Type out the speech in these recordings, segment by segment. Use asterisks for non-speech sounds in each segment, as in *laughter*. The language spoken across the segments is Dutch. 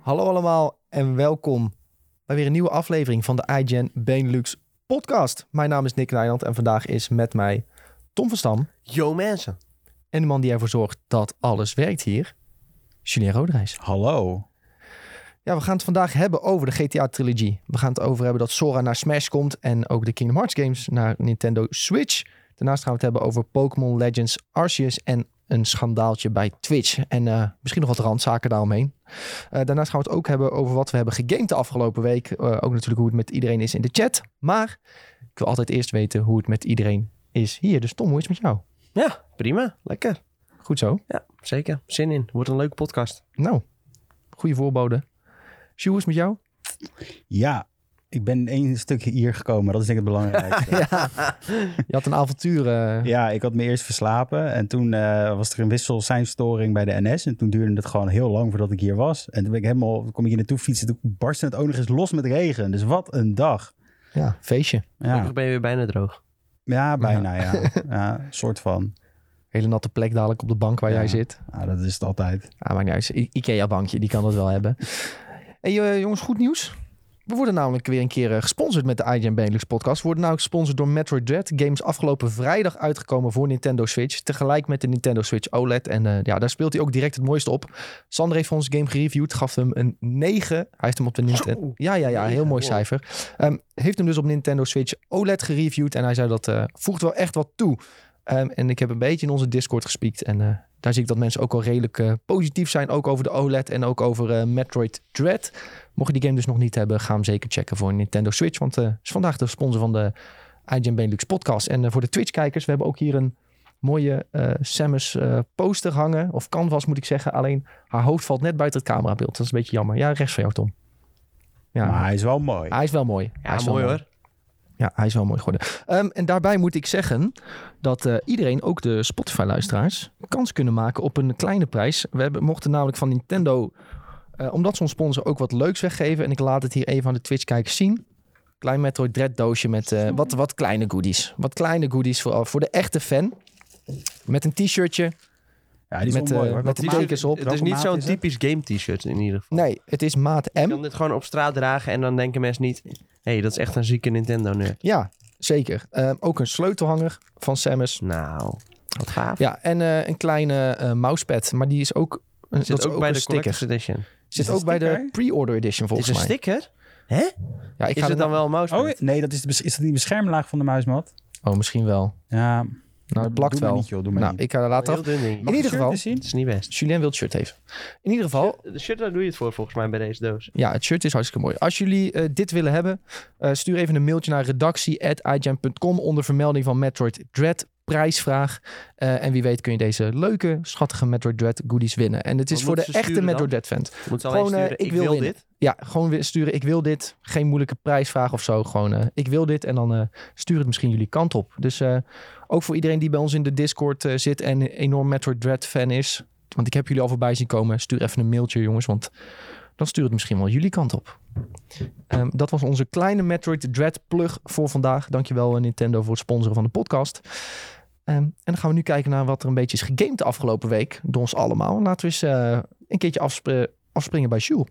Hallo allemaal en welkom bij weer een nieuwe aflevering van de iGen Benelux podcast. Mijn naam is Nick Nijland en vandaag is met mij Tom van Stam Yo mensen. en de man die ervoor zorgt dat alles werkt hier, Julien Roderijs. Hallo. Ja, we gaan het vandaag hebben over de GTA-trilogie. We gaan het over hebben dat Sora naar Smash komt en ook de Kingdom Hearts games naar Nintendo Switch. Daarnaast gaan we het hebben over Pokémon Legends Arceus en een schandaaltje bij Twitch. En eh, misschien nog wat randzaken daaromheen. Eh, daarnaast gaan we het ook hebben over wat we hebben gegamed de afgelopen week. Eh, ook natuurlijk hoe het met iedereen is in de chat. Maar ik wil altijd eerst weten hoe het met iedereen is hier. Dus Tom, hoe is het met jou? Ja, prima. Lekker. Goed zo. Ja, zeker. Zin in. Wordt een leuke podcast. Nou, goede voorbode. Sjoe, hoe is het met jou? Ja, ik ben één stuk hier gekomen. Dat is denk ik het belangrijkste. ja. *laughs* Ja. Je had een avontuur. eh, ik had me eerst verslapen. En toen eh, was er een wisselseinstoring bij de NS. En toen duurde het gewoon heel lang voordat ik hier was. En toen ben ik helemaal, kom ik hier naartoe fietsen. Toen barstte het ook nog eens los met regen. Dus wat een dag. ja, feestje. Ja, Gelukkig ben je weer bijna droog. ja bijna ja. ja. Soort van. Hele natte plek dadelijk op de bank waar Ja. jij zit. Nou, dat is het altijd. Ah, maakt niet uit. I- Ikea-bankje, die kan dat wel hebben. Hey, eh, jongens, goed nieuws. We worden namelijk weer een keer eh, gesponsord met de IGN Benelux podcast. We worden nou gesponsord door Metroid Dread. Games afgelopen vrijdag uitgekomen voor Nintendo Switch. Tegelijk met de Nintendo Switch OLED. En eh, ja, daar speelt hij ook direct het mooiste op. Sander heeft voor ons game gereviewd. Gaf hem een 9. Hij heeft hem op de Nintendo... Zo. Ja, ja, ja. Heel Negen, mooi wow. cijfer. Ehm, heeft hem dus op Nintendo Switch OLED gereviewd. En hij zei dat eh, voegt wel echt wat toe. Ehm, en ik heb een beetje in onze Discord gespiekt. En eh, daar zie ik dat mensen ook al redelijk eh, positief zijn. Ook over de OLED en ook over eh, Metroid Dread. Mocht je die game dus nog niet hebben, ga hem zeker checken voor Nintendo Switch. Want eh is vandaag de sponsor van de IGN Benelux podcast. En eh, voor de Twitch-kijkers, we hebben ook hier een mooie eh Samus eh, poster hangen. Of canvas moet ik zeggen. Alleen haar hoofd valt net buiten het camerabeeld. Dat is een beetje jammer. Ja, rechts van jou, Tom. Ja, Ah, Maar hij is wel mooi. hij is wel mooi. hij is wel hoor. ja, hij is wel mooi geworden. Ehm, en daarbij moet ik zeggen dat eh, iedereen, ook de Spotify-luisteraars, kans kunnen maken op een kleine prijs. We hebben, mochten namelijk van Nintendo, eh, omdat ze ons sponsoren, ook wat leuks weggeven. En ik laat het hier even aan de Twitch-kijkers zien. Klein Metroid Dread doosje met eh, wat, wat kleine goodies. Wat kleine goodies voor, voor de echte fan. Met een t-shirtje. Ja, die is Met, wel mooi. eh, hoor. met Wat die maakt- tekens op. Het is Welke niet maat zo'n is het? typisch game t-shirt in ieder geval. Nee, het is maat M. Je kan dit gewoon op straat dragen en dan denken mensen niet... Hé, hey, dat is echt een zieke Nintendo nerd. Ja, zeker. Ehm, ook een sleutelhanger van Samus. Nou, wat gaaf. Ja, en eh, een kleine eh, mousepad. Maar die is ook... Een, Zit dat is ook bij een de sticker. Collector's Edition. Zit het ook bij de sticker? pre-order edition Is volgens een mij. sticker? Hè? Ja, ik Is ga het er dan wel een mouse? Oh, nee, dat is, de bes- is dat die beschermlaag van de muismat? na- Oh, misschien wel. Ja, Nou, doe het plakt maar wel. niet, joh, doe maar nou, niet. ik ga er later Heel af. dun ding. In ieder Shirt geval- eens zien? Dat is niet best. Julien wil het shirt even. In ieder geval, De shirt, daar doe je het voor volgens mij bij deze doos. ja, het shirt is hartstikke mooi. Als jullie eh, dit willen hebben, eh, stuur even een mailtje naar redactie.igem.com onder vermelding van Metroid Dread prijsvraag. Eh, en wie weet kun je deze leuke, schattige Metroid Dread goodies winnen. En het is Wat voor de moeten ze echte sturen dan? Metroid Dread fan. Moet ze Gewoon, alleen eh, sturen, ik ik, wil wil, winnen. dit. Ja, gewoon weer sturen. Ik wil dit. Geen moeilijke prijsvraag of zo. Gewoon, eh, ik wil dit. En dan eh, stuur het misschien jullie kant op. Dus eh, ook voor iedereen die bij ons in de Discord eh, zit en enorm Metroid Dread fan is. Want ik heb jullie al voorbij zien komen. Stuur even een mailtje, jongens. Want dan stuur het misschien wel jullie kant op. Ehm, dat was onze kleine Metroid Dread plug voor vandaag. Dankjewel eh, Nintendo voor het sponsoren van de podcast. Ehm, en dan gaan we nu kijken naar wat er een beetje is gegamed de afgelopen week. Door ons allemaal. Laten we eens eh, een keertje afspre- afspringen bij Sjoel.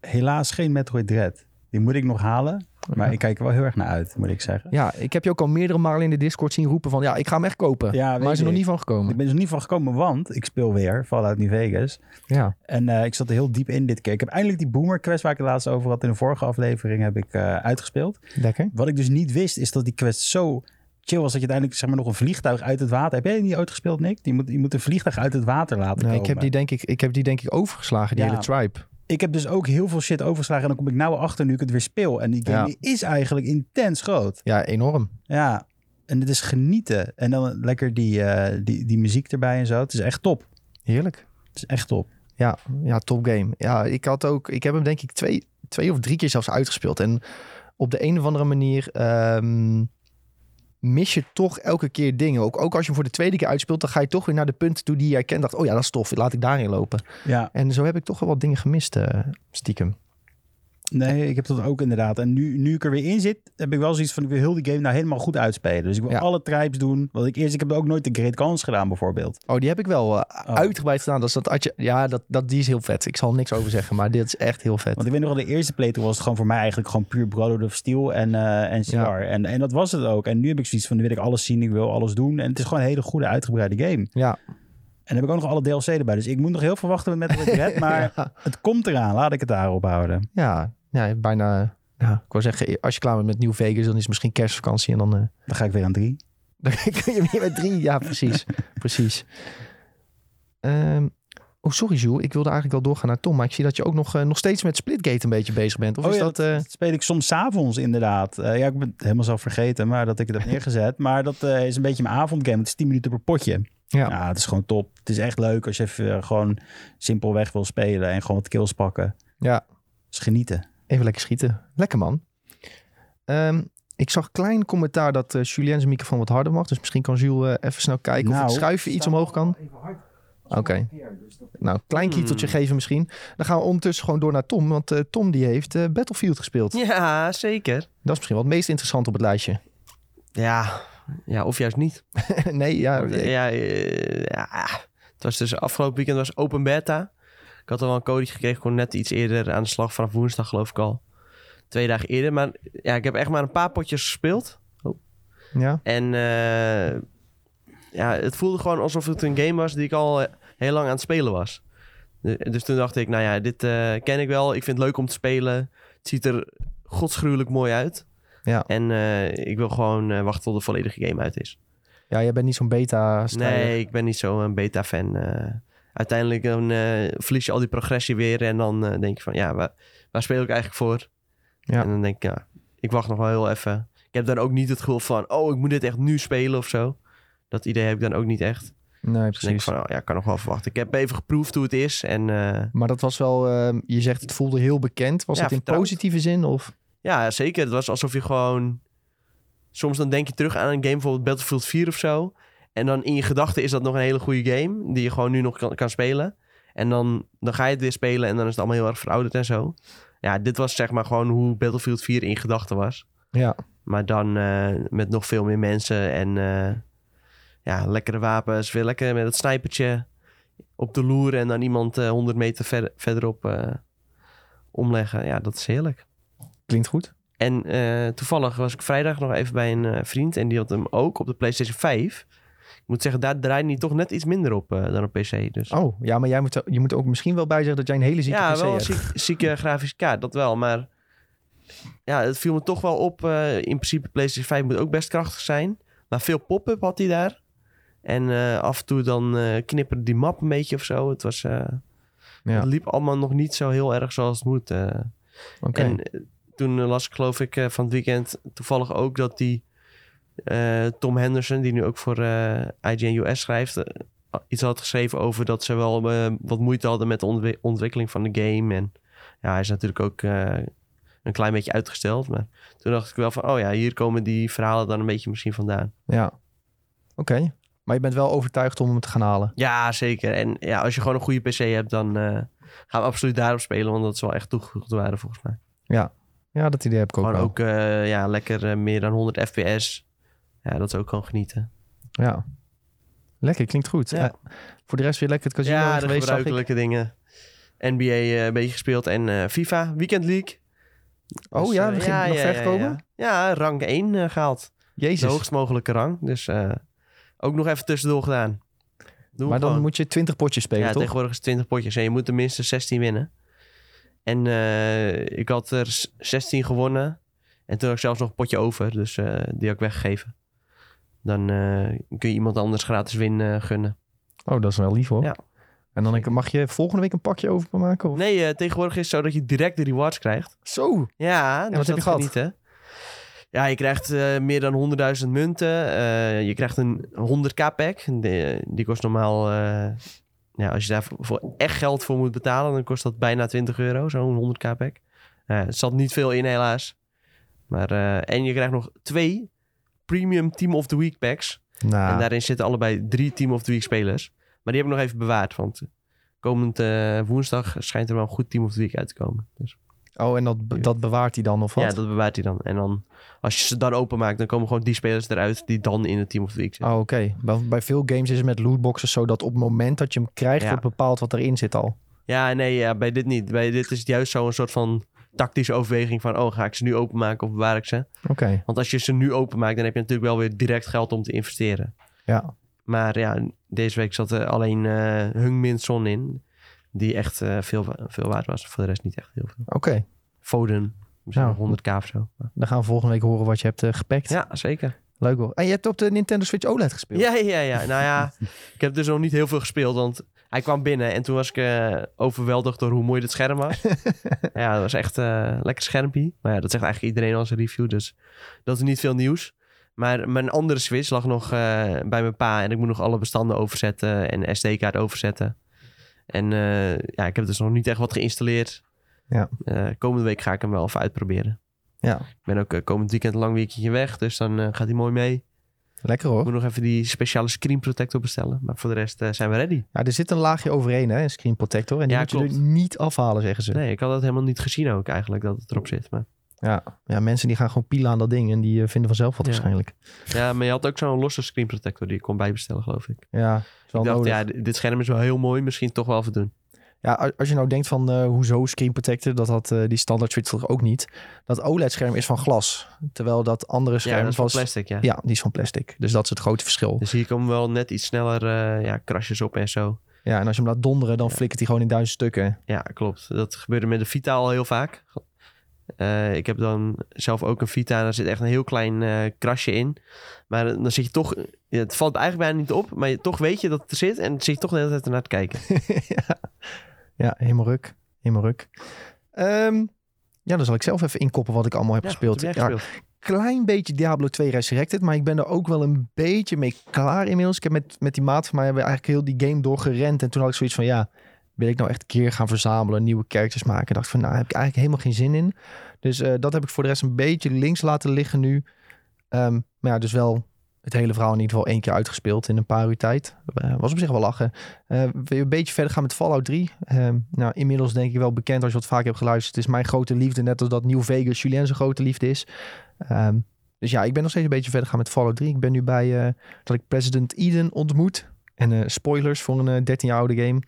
Helaas geen Metroid Dread. Die moet ik nog halen. Maar ik kijk er wel heel erg naar uit, moet ik zeggen. Ja, ik heb je ook al meerdere malen in de Discord zien roepen van... ja, ik ga hem echt kopen. Ja, maar weet hij is er nog ik. niet van Ik gekomen. ben dus er niet van gekomen, want ik speel weer Fallout New Vegas. Ja. En eh, ik zat er heel diep in dit keer. Ik heb eindelijk die Boomer Quest waar ik het laatst over had in de vorige aflevering heb ik eh, uitgespeeld. Lekker. Wat ik dus niet wist is dat die quest zo chill was dat je uiteindelijk zeg maar, nog een vliegtuig uit het water... Heb jij die ooit gespeeld, Nick? Je moet, je moet een vliegtuig uit het water laten Nee, komen. ik, heb die denk ik, ik heb die denk ik overgeslagen, die Ja. hele tribe. ik heb dus ook heel veel shit overgeslagen en dan kom ik nou achter nu ik het weer speel. En die game Ja. die is eigenlijk intens groot. Ja, enorm. Ja, en het is genieten. En dan lekker die, eh, die, die muziek erbij en zo. Het is echt top. Heerlijk. Het is echt top. Ja, ja top game. Ja, ik, had ook, ik heb hem denk ik twee, twee of drie keer zelfs uitgespeeld. En op de een of andere manier ehm, mis je toch elke keer dingen. Ook, ook als je hem voor de tweede keer uitspeelt... dan ga je toch weer naar de punten toe die jij kent. dacht, oh ja, dat is tof, laat ik daarin lopen. Ja, En zo heb ik toch wel wat dingen gemist, eh, stiekem. Nee, ik heb dat ook inderdaad. En nu, nu ik er weer in zit, heb ik wel zoiets van... ik wil heel die game nou helemaal goed uitspelen. Dus ik wil Ja. alle tribes doen. Want ik, eerst, ik heb ook nooit de Great Kans gedaan bijvoorbeeld. Oh, die heb ik wel eh, uitgebreid gedaan. Dat is dat Atje. Ja, dat, dat, die is heel vet. Ik zal niks over zeggen, maar dit is echt heel vet. Want ik weet nog wel, de eerste playthrough was het gewoon voor mij eigenlijk... gewoon puur Brotherhood of Steel en, eh, en CR. Ja. En, en dat was het ook. En nu heb ik zoiets van, nu wil ik alles zien, ik wil alles doen. En het is gewoon een hele goede uitgebreide game. Ja, En dan heb ik ook nog alle DLC erbij. Dus ik moet nog heel veel wachten met Metal Gear Red. Maar ja, het komt eraan, laat ik het daarop houden. ja, ja, bijna. Ja, ik wou zeggen, als je klaar bent met New Vegas, dan is het misschien kerstvakantie en dan, eh, *laughs* Dan ga ik weer aan drie. dan kun je weer met drie. Ja, *laughs* precies. precies. Ehm, oh, sorry, Jules. Ik wilde eigenlijk wel doorgaan naar Tom, maar ik zie dat je ook nog, eh, nog steeds met Splitgate een beetje bezig bent. Of Oh is ja, dat. eh, Dat speel ik soms 's avonds inderdaad. Eh, ja, ik ben het helemaal zelf vergeten, maar dat ik *laughs* het heb neergezet. Maar dat eh, is een beetje mijn avondgame. Het is 10 minuten per potje. ja. Ja. het is gewoon top. Het is echt leuk als je even eh, gewoon simpelweg wil spelen en gewoon wat kills pakken. Ja. Dus genieten. Even lekker schieten. Lekker man. Ehm, ik zag klein commentaar dat eh Julien zijn microfoon wat harder mag. Dus misschien kan Jules eh, even snel kijken of Nou, het schuiven iets omhoog kan. Oké. Nou, klein Hmm. kieteltje geven misschien. Dan gaan we ondertussen gewoon door naar Tom. Want eh, Tom die heeft eh, Battlefield gespeeld. Ja, zeker. Dat is misschien wel het meest interessant op het lijstje. *laughs* Ja, ja of juist niet. nee, ja. Want, eh, Ja, eh, ja, het was dus afgelopen weekend was open beta. Ik had al wel een codetje gekregen, gewoon net iets eerder aan de slag vanaf woensdag geloof ik al. Twee dagen eerder, maar ja, ik heb echt maar een paar potjes gespeeld. ja. En eh, ja, het voelde gewoon alsof het een game was die ik al eh, heel lang aan het spelen was. De- Dus toen dacht ik, nou ja, dit eh, ken ik wel. Ik vind het leuk om te spelen. Het ziet er godsgruwelijk mooi uit. Ja. En eh, ik wil gewoon eh, wachten tot de volledige game uit is. ja, jij bent niet zo'n beta Nee, ik ben niet zo'n beta-fan. eh. uiteindelijk dan, eh, verlies je al die progressie weer en dan eh, denk je van, ja, waar, waar speel ik eigenlijk voor? Ja. En dan denk ik, ja, ik wacht nog wel heel even. Ik heb dan ook niet het gevoel van, oh, ik moet dit echt nu spelen of zo. Dat idee heb ik dan ook niet echt. Nee, Dus dan denk ik precies. van, oh, ja, ik kan nog wel verwachten. Ik heb even geproefd hoe het is en eh, Maar dat was wel, ehm, je zegt het voelde heel bekend. Was Ja, het in vertrouwd. positieve zin? Of? ja, zeker. Het was alsof je gewoon... Soms dan denk je terug aan een game, bijvoorbeeld Battlefield 4 of zo. En dan in je gedachten is dat nog een hele goede game. Die je gewoon nu nog kan, kan spelen. En dan, dan ga je het weer spelen en dan is het allemaal heel erg verouderd en zo. Ja, dit was zeg maar gewoon hoe Battlefield 4 in gedachten was. Ja. Maar dan eh, met nog veel meer mensen en eh, ja, lekkere wapens. Weer lekker met het snipertje op de loer en dan iemand eh, 100 meter ver, verderop eh, omleggen. Ja, dat is heerlijk. Klinkt goed. En eh, toevallig was ik vrijdag nog even bij een eh, vriend en die had hem ook op de PlayStation 5. Ik moet zeggen, daar draaide hij toch net iets minder op eh, dan op PC. Dus. Oh, ja, maar jij moet, je moet ook misschien wel bij zeggen dat jij een hele zieke ja, PC wel een hebt. ziek, zieke grafische kaart, dat wel. Maar ja, het viel me toch wel op. eh, in principe, PlayStation 5 moet ook best krachtig zijn. Maar veel pop-up had hij daar. En eh, af en toe dan eh, knipperde die map een beetje of zo. Het, was, eh, Ja. het liep allemaal nog niet zo heel erg zoals het moet. eh. Oké. En eh, toen eh, las ik geloof ik eh, van het weekend toevallig ook dat die eh, Tom Henderson, die nu ook voor eh IGN US schrijft, eh, iets had geschreven over dat ze wel eh, wat moeite hadden met de ontwi- ontwikkeling van de game. En ja, hij is natuurlijk ook eh, een klein beetje uitgesteld. Maar toen dacht ik wel van, oh ja, hier komen die verhalen dan een beetje misschien vandaan. Ja. Oké. Maar je bent wel overtuigd om hem te gaan halen. Ja, zeker. En ja, als je gewoon een goede PC hebt, dan eh, gaan we absoluut daarop spelen. Want dat is wel echt toegevoegd waarde volgens mij. Ja, dat idee heb ik ook Gewoon wel. ook eh, ja, lekker eh, meer dan 100 fps. Ja, dat is ook gewoon genieten. Ja. Lekker, klinkt goed. Ja. Eh, voor de rest weer lekker het casino ja, de geweest, zag ik. gebruikelijke dingen. NBA eh, een beetje gespeeld en eh, FIFA, Weekend League. Oh Dus, ja, eh, we gingen nog ver gekomen? Ja, Ja, rang 1 eh, gehaald. De Jezus. hoogst mogelijke rang. Dus eh, ook nog even tussendoor gedaan. Doe maar dan gewoon. moet je 20 potjes spelen, ja, toch? tegenwoordig is het 20 potjes en je moet tenminste 16 winnen. En eh, ik had er s- 16 gewonnen. En toen had ik zelfs nog een potje over, dus eh, die had ik weggegeven. Dan eh, kun je iemand anders gratis win eh, gunnen. Oh, dat is wel lief hoor. Ja. En dan ik- mag je volgende week een pakje over maken? Of? Nee, eh, tegenwoordig is het zo dat je direct de rewards krijgt. Zo. Nou, Ja, wat dus heb dat je gehad? genieten. Ja, je krijgt eh, meer dan 100.000 munten. Eh, je krijgt een 100k-pack. Die, die kost normaal... eh, ja, als je daar voor- voor echt geld voor moet betalen... dan kost dat bijna 20 euro, zo'n 100k-pack. er Eh, zat niet veel in, helaas. Maar, eh, en je krijgt nog twee Premium Team of the Week packs. En Nou, daarin zitten allebei drie Team of the Week spelers. Maar die heb ik nog even bewaard, want... Komend eh, woensdag schijnt er wel een goed Team of the Week uit te komen. Dus. Oh, en dat, be- dat bewaart hij dan of wat? Ja, dat bewaart hij dan. En dan, als je ze dan openmaakt, dan komen gewoon die spelers eruit die dan in het Team of the Week zitten. Oh, oké. Bij, bij veel games is het met lootboxen zo dat op het moment dat je hem krijgt, Ja. wordt bepaald wat erin zit al. Ja, nee, ja, bij dit niet. Bij dit is het juist zo'n soort van tactische overweging van, oh, ga ik ze nu openmaken of bewaar ik ze? Oké, Want als je ze nu openmaakt, dan heb je natuurlijk wel weer direct geld om te investeren. ja. Maar ja, deze week zat er alleen eh Hung Min Son in, die echt eh, veel, wa- veel waard was. Voor de rest niet echt heel veel. Oké, Foden, misschien Nou. 100k of zo. Maar- dan gaan we volgende week horen wat je hebt eh, gepakt. Ja, zeker. Leuk hoor. En je hebt op de Nintendo Switch OLED gespeeld. Ja, ja, ja. Nou *laughs* ja, ik heb dus nog niet heel veel gespeeld, want hij kwam binnen en toen was ik eh, overweldigd door hoe mooi het scherm *laughs* was. ja, dat was echt eh lekker schermpje. Maar ja, dat zegt eigenlijk iedereen als een review, dus dat is niet veel nieuws. Maar mijn andere Switch lag nog eh, bij mijn pa en ik moet nog alle bestanden overzetten en SD-kaart overzetten. En eh, ja, ik heb dus nog niet echt wat geïnstalleerd. Ja. Eh, komende week ga ik hem wel even uitproberen. Ja. Ik ben ook eh, komend weekend een lang weekendje weg, dus dan eh, gaat hij mooi mee. Lekker hoor. Ik moet nog even die speciale screen protector bestellen. Maar voor de rest eh, zijn we ready. Ja, er zit een laagje overheen, hè, een screen protector. En die Ja, moet je klopt. er niet afhalen, zeggen ze. Nee, ik had dat helemaal niet gezien ook eigenlijk, dat het erop zit. Maar... Ja, mensen die gaan gewoon pielen aan dat ding en die eh, vinden vanzelf wat Ja. waarschijnlijk. Ja, maar je had ook zo'n losse screen protector die ik kon bijbestellen, geloof ik. Ja, is wel ik dacht, nodig. ja, d- dit scherm is wel heel mooi. Misschien toch wel even doen. Ja, a- als je nou denkt van eh, hoezo screen protector, dat had eh, die standaard Switch toch ook niet. Dat OLED-scherm is van glas, terwijl dat andere scherm Ja, dat is van was- plastic, ja. Ja, die is van plastic. Dus dat is het grote verschil. Dus hier komen wel net iets sneller eh ja, crashes op en zo. Ja, en als je hem laat donderen, dan flikkert hij gewoon in duizend stukken. Ja, klopt. Dat gebeurde met de Vita al heel vaak. Eh, ik heb dan zelf ook een Vita en daar zit echt een heel klein eh krasje in. Maar dan zit je toch... ja, Het valt eigenlijk bijna niet op, maar je, toch weet je dat het er zit... en dan zit je toch de hele tijd ernaar te kijken. *laughs* ja. ja, helemaal ruk. Helemaal ruk. Ehm, ja, dan zal ik zelf even inkoppen wat ik allemaal heb Ja, gespeeld. wat heb jij Ja, gespeeld? klein beetje Diablo 2 Resurrected, maar ik ben er ook wel een beetje mee klaar inmiddels. Ik heb met, met die maat van mij hebben we eigenlijk heel die game doorgerend. En toen had ik zoiets van, ja, wil ik nou echt keer gaan verzamelen, nieuwe characters maken? Ik dacht van, nou, daar heb ik eigenlijk helemaal geen zin in. Dus eh, dat heb ik voor de rest een beetje links laten liggen nu. Ehm, maar ja, dus wel het hele verhaal in ieder geval één keer uitgespeeld in een paar uur tijd. Eh, was op zich wel lachen. Eh, weer een beetje verder gaan met Fallout 3. Ehm, nou, inmiddels denk ik wel bekend als je wat vaak hebt geluisterd. Het is mijn grote liefde, net als dat New Vegas Julien zijn grote liefde is. Ehm, dus ja, ik ben nog steeds een beetje verder gaan met Fallout 3. Ik ben nu bij eh, dat ik President Eden ontmoet. En eh, spoilers voor een eh, 13 jaar oude game.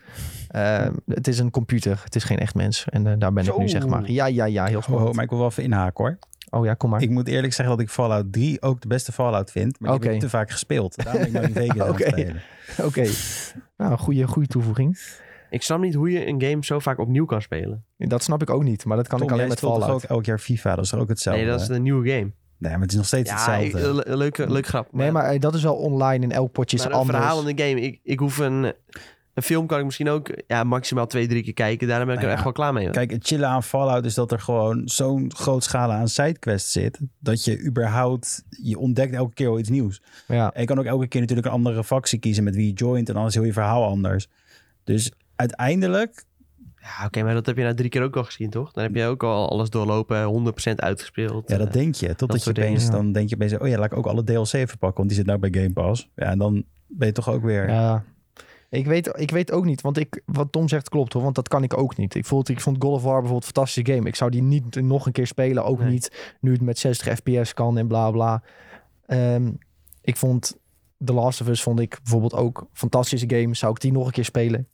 Ehm, het is een computer, het is geen echt mens. En eh, daar ben ik nu, zeg maar. Zo. Ja, ja, ja, heel Oh, spannend. maar ik wil wel even inhaken hoor. Oh ja, kom maar. Ik moet eerlijk zeggen dat ik Fallout 3 ook de beste Fallout vind. Maar die Oké. heb ik te vaak gespeeld. Daarom ben ik *laughs* nou in Vegas aan het Oké. spelen. Oké. *laughs* Nou, goede, goede toevoeging. Ik snap niet hoe je een game zo vaak opnieuw kan spelen. Dat snap ik ook niet, maar dat kan Tom, ik alleen jij met speelt toch Fallout. ook elk jaar FIFA. Dat is toch ook hetzelfde? nee, dat is een nieuwe game. Nee, maar het is nog steeds Ja, ik- hetzelfde. le- le- leuke, leuk grap. Nee, maar eh, dat is wel online in elk potje is maar een anders. verhaal in de game. Ik, ik hoef een, een film kan ik misschien ook ja, maximaal twee, drie keer kijken. Daarna ben ik er Nou ja, echt wel klaar mee. hoor. Kijk, het chillen aan Fallout is dat er gewoon zo'n groot scala aan sidequests zit. Dat je überhaupt, je ontdekt elke keer wel iets nieuws. Ja, En je kan ook elke keer natuurlijk een andere factie kiezen met wie je joint. En dan is heel je verhaal anders. Dus uiteindelijk, Ja, oké, maar dat heb je na drie keer ook al gezien, toch? Dan heb je ook al alles doorlopen, 100% uitgespeeld. ja, dat Eh, denk je. Totdat je soort dingen, opeens, ja. dan denk je opeens, oh ja, laat ik ook alle DLC even pakken. Want die zit nou bij Game Pass. Ja, en dan ben je toch ook weer... ja. Ik weet, ik weet ook niet, want ik, wat Tom zegt klopt hoor, want dat kan ik ook niet. Ik, voelde, ik vond God of War bijvoorbeeld een fantastische game. Ik zou die niet nog een keer spelen, ook Nee. niet nu het met 60 fps kan en bla bla. Ehm, ik vond The Last of Us vond ik bijvoorbeeld ook een fantastische game. Zou ik die nog een keer spelen?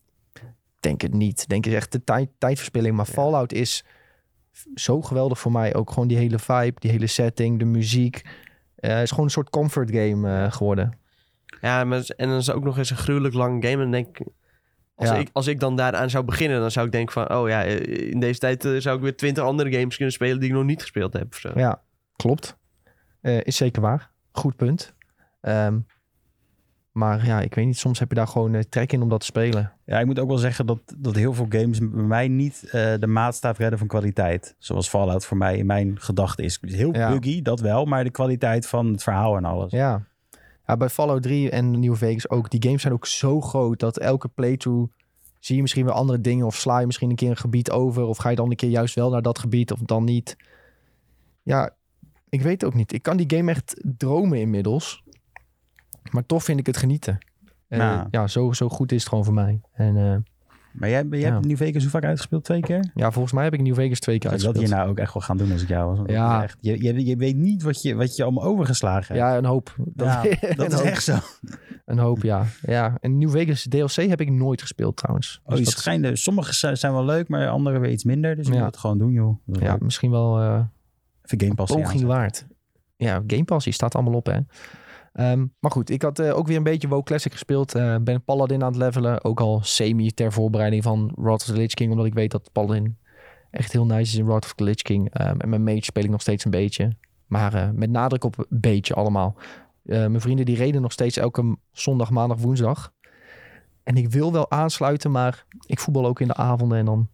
Denk het niet. Denk het echt de tijd, tijdverspilling. Maar Ja. Fallout is f- zo geweldig voor mij. Ook gewoon die hele vibe, die hele setting, de muziek. Eh, Het is gewoon een soort comfort game eh, geworden. Ja, maar, en dan is het ook nog eens een gruwelijk lange game. En dan denk ik als, Ja. ik, als ik dan daaraan zou beginnen, dan zou ik denken van... Oh ja, eh, in deze tijd eh, zou ik weer twintig andere games kunnen spelen die ik nog niet gespeeld heb. Of zo. Ja, klopt. Eh, is zeker waar. Goed punt. Ehm, maar ja, ik weet niet, soms heb je daar gewoon eh, trek in om dat te spelen. Ja, ik moet ook wel zeggen dat, dat heel veel games bij mij niet eh, de maatstaaf redden van kwaliteit. Zoals Fallout voor mij in mijn gedachten is. Het is Heel Ja. buggy, dat wel, maar de kwaliteit van het verhaal en alles. Ja. ja, bij Fallout 3 en New Vegas ook. Die games zijn ook zo groot dat elke playthrough zie je misschien weer andere dingen. Of sla je misschien een keer een gebied over. Of ga je dan een keer juist wel naar dat gebied of dan niet. Ja, ik weet ook niet. Ik kan die game echt dromen inmiddels. Maar toch vind ik het genieten. Eh, Ja. Ja, zo, zo goed is het gewoon voor mij. En eh, Maar jij, jij Ja. hebt New Vegas hoe vaak uitgespeeld? Twee keer? Ja, volgens mij heb ik New Vegas twee keer Ik dat uitgespeeld. je nou ook echt wel gaan doen als ik jou was. want dat Ja. is echt- je, je, je weet niet wat je, wat je allemaal overgeslagen hebt. Ja, een hoop. Dat, Ja, *laughs* dat een is *laughs* hoop. echt zo. Dus Een hoop, ja. ja. En New Vegas DLC heb ik nooit gespeeld trouwens. Oh, Dus die dat- schijnen, sommige zijn zijn wel leuk, maar andere weer iets minder. Dus je Ja. moet het gewoon doen, joh. Dat is ja, leuk. misschien wel eh Even Game Pass. poging aanzetten. waard. Ja, Game Pass, die staat allemaal op, hè. Ehm, maar goed, ik had eh, ook weer een beetje WoW Classic gespeeld. Eh, ben Paladin aan het levelen. Ook al semi ter voorbereiding van Wrath of the Lich King. Omdat ik weet dat Paladin echt heel nice is in Wrath of the Lich King. Ehm, en mijn mage speel ik nog steeds een beetje. Maar eh, met nadruk op beetje allemaal. Eh, mijn vrienden die reden nog steeds elke m- zondag, maandag, woensdag. En ik wil wel aansluiten, maar ik voetbal ook in de avonden. En dan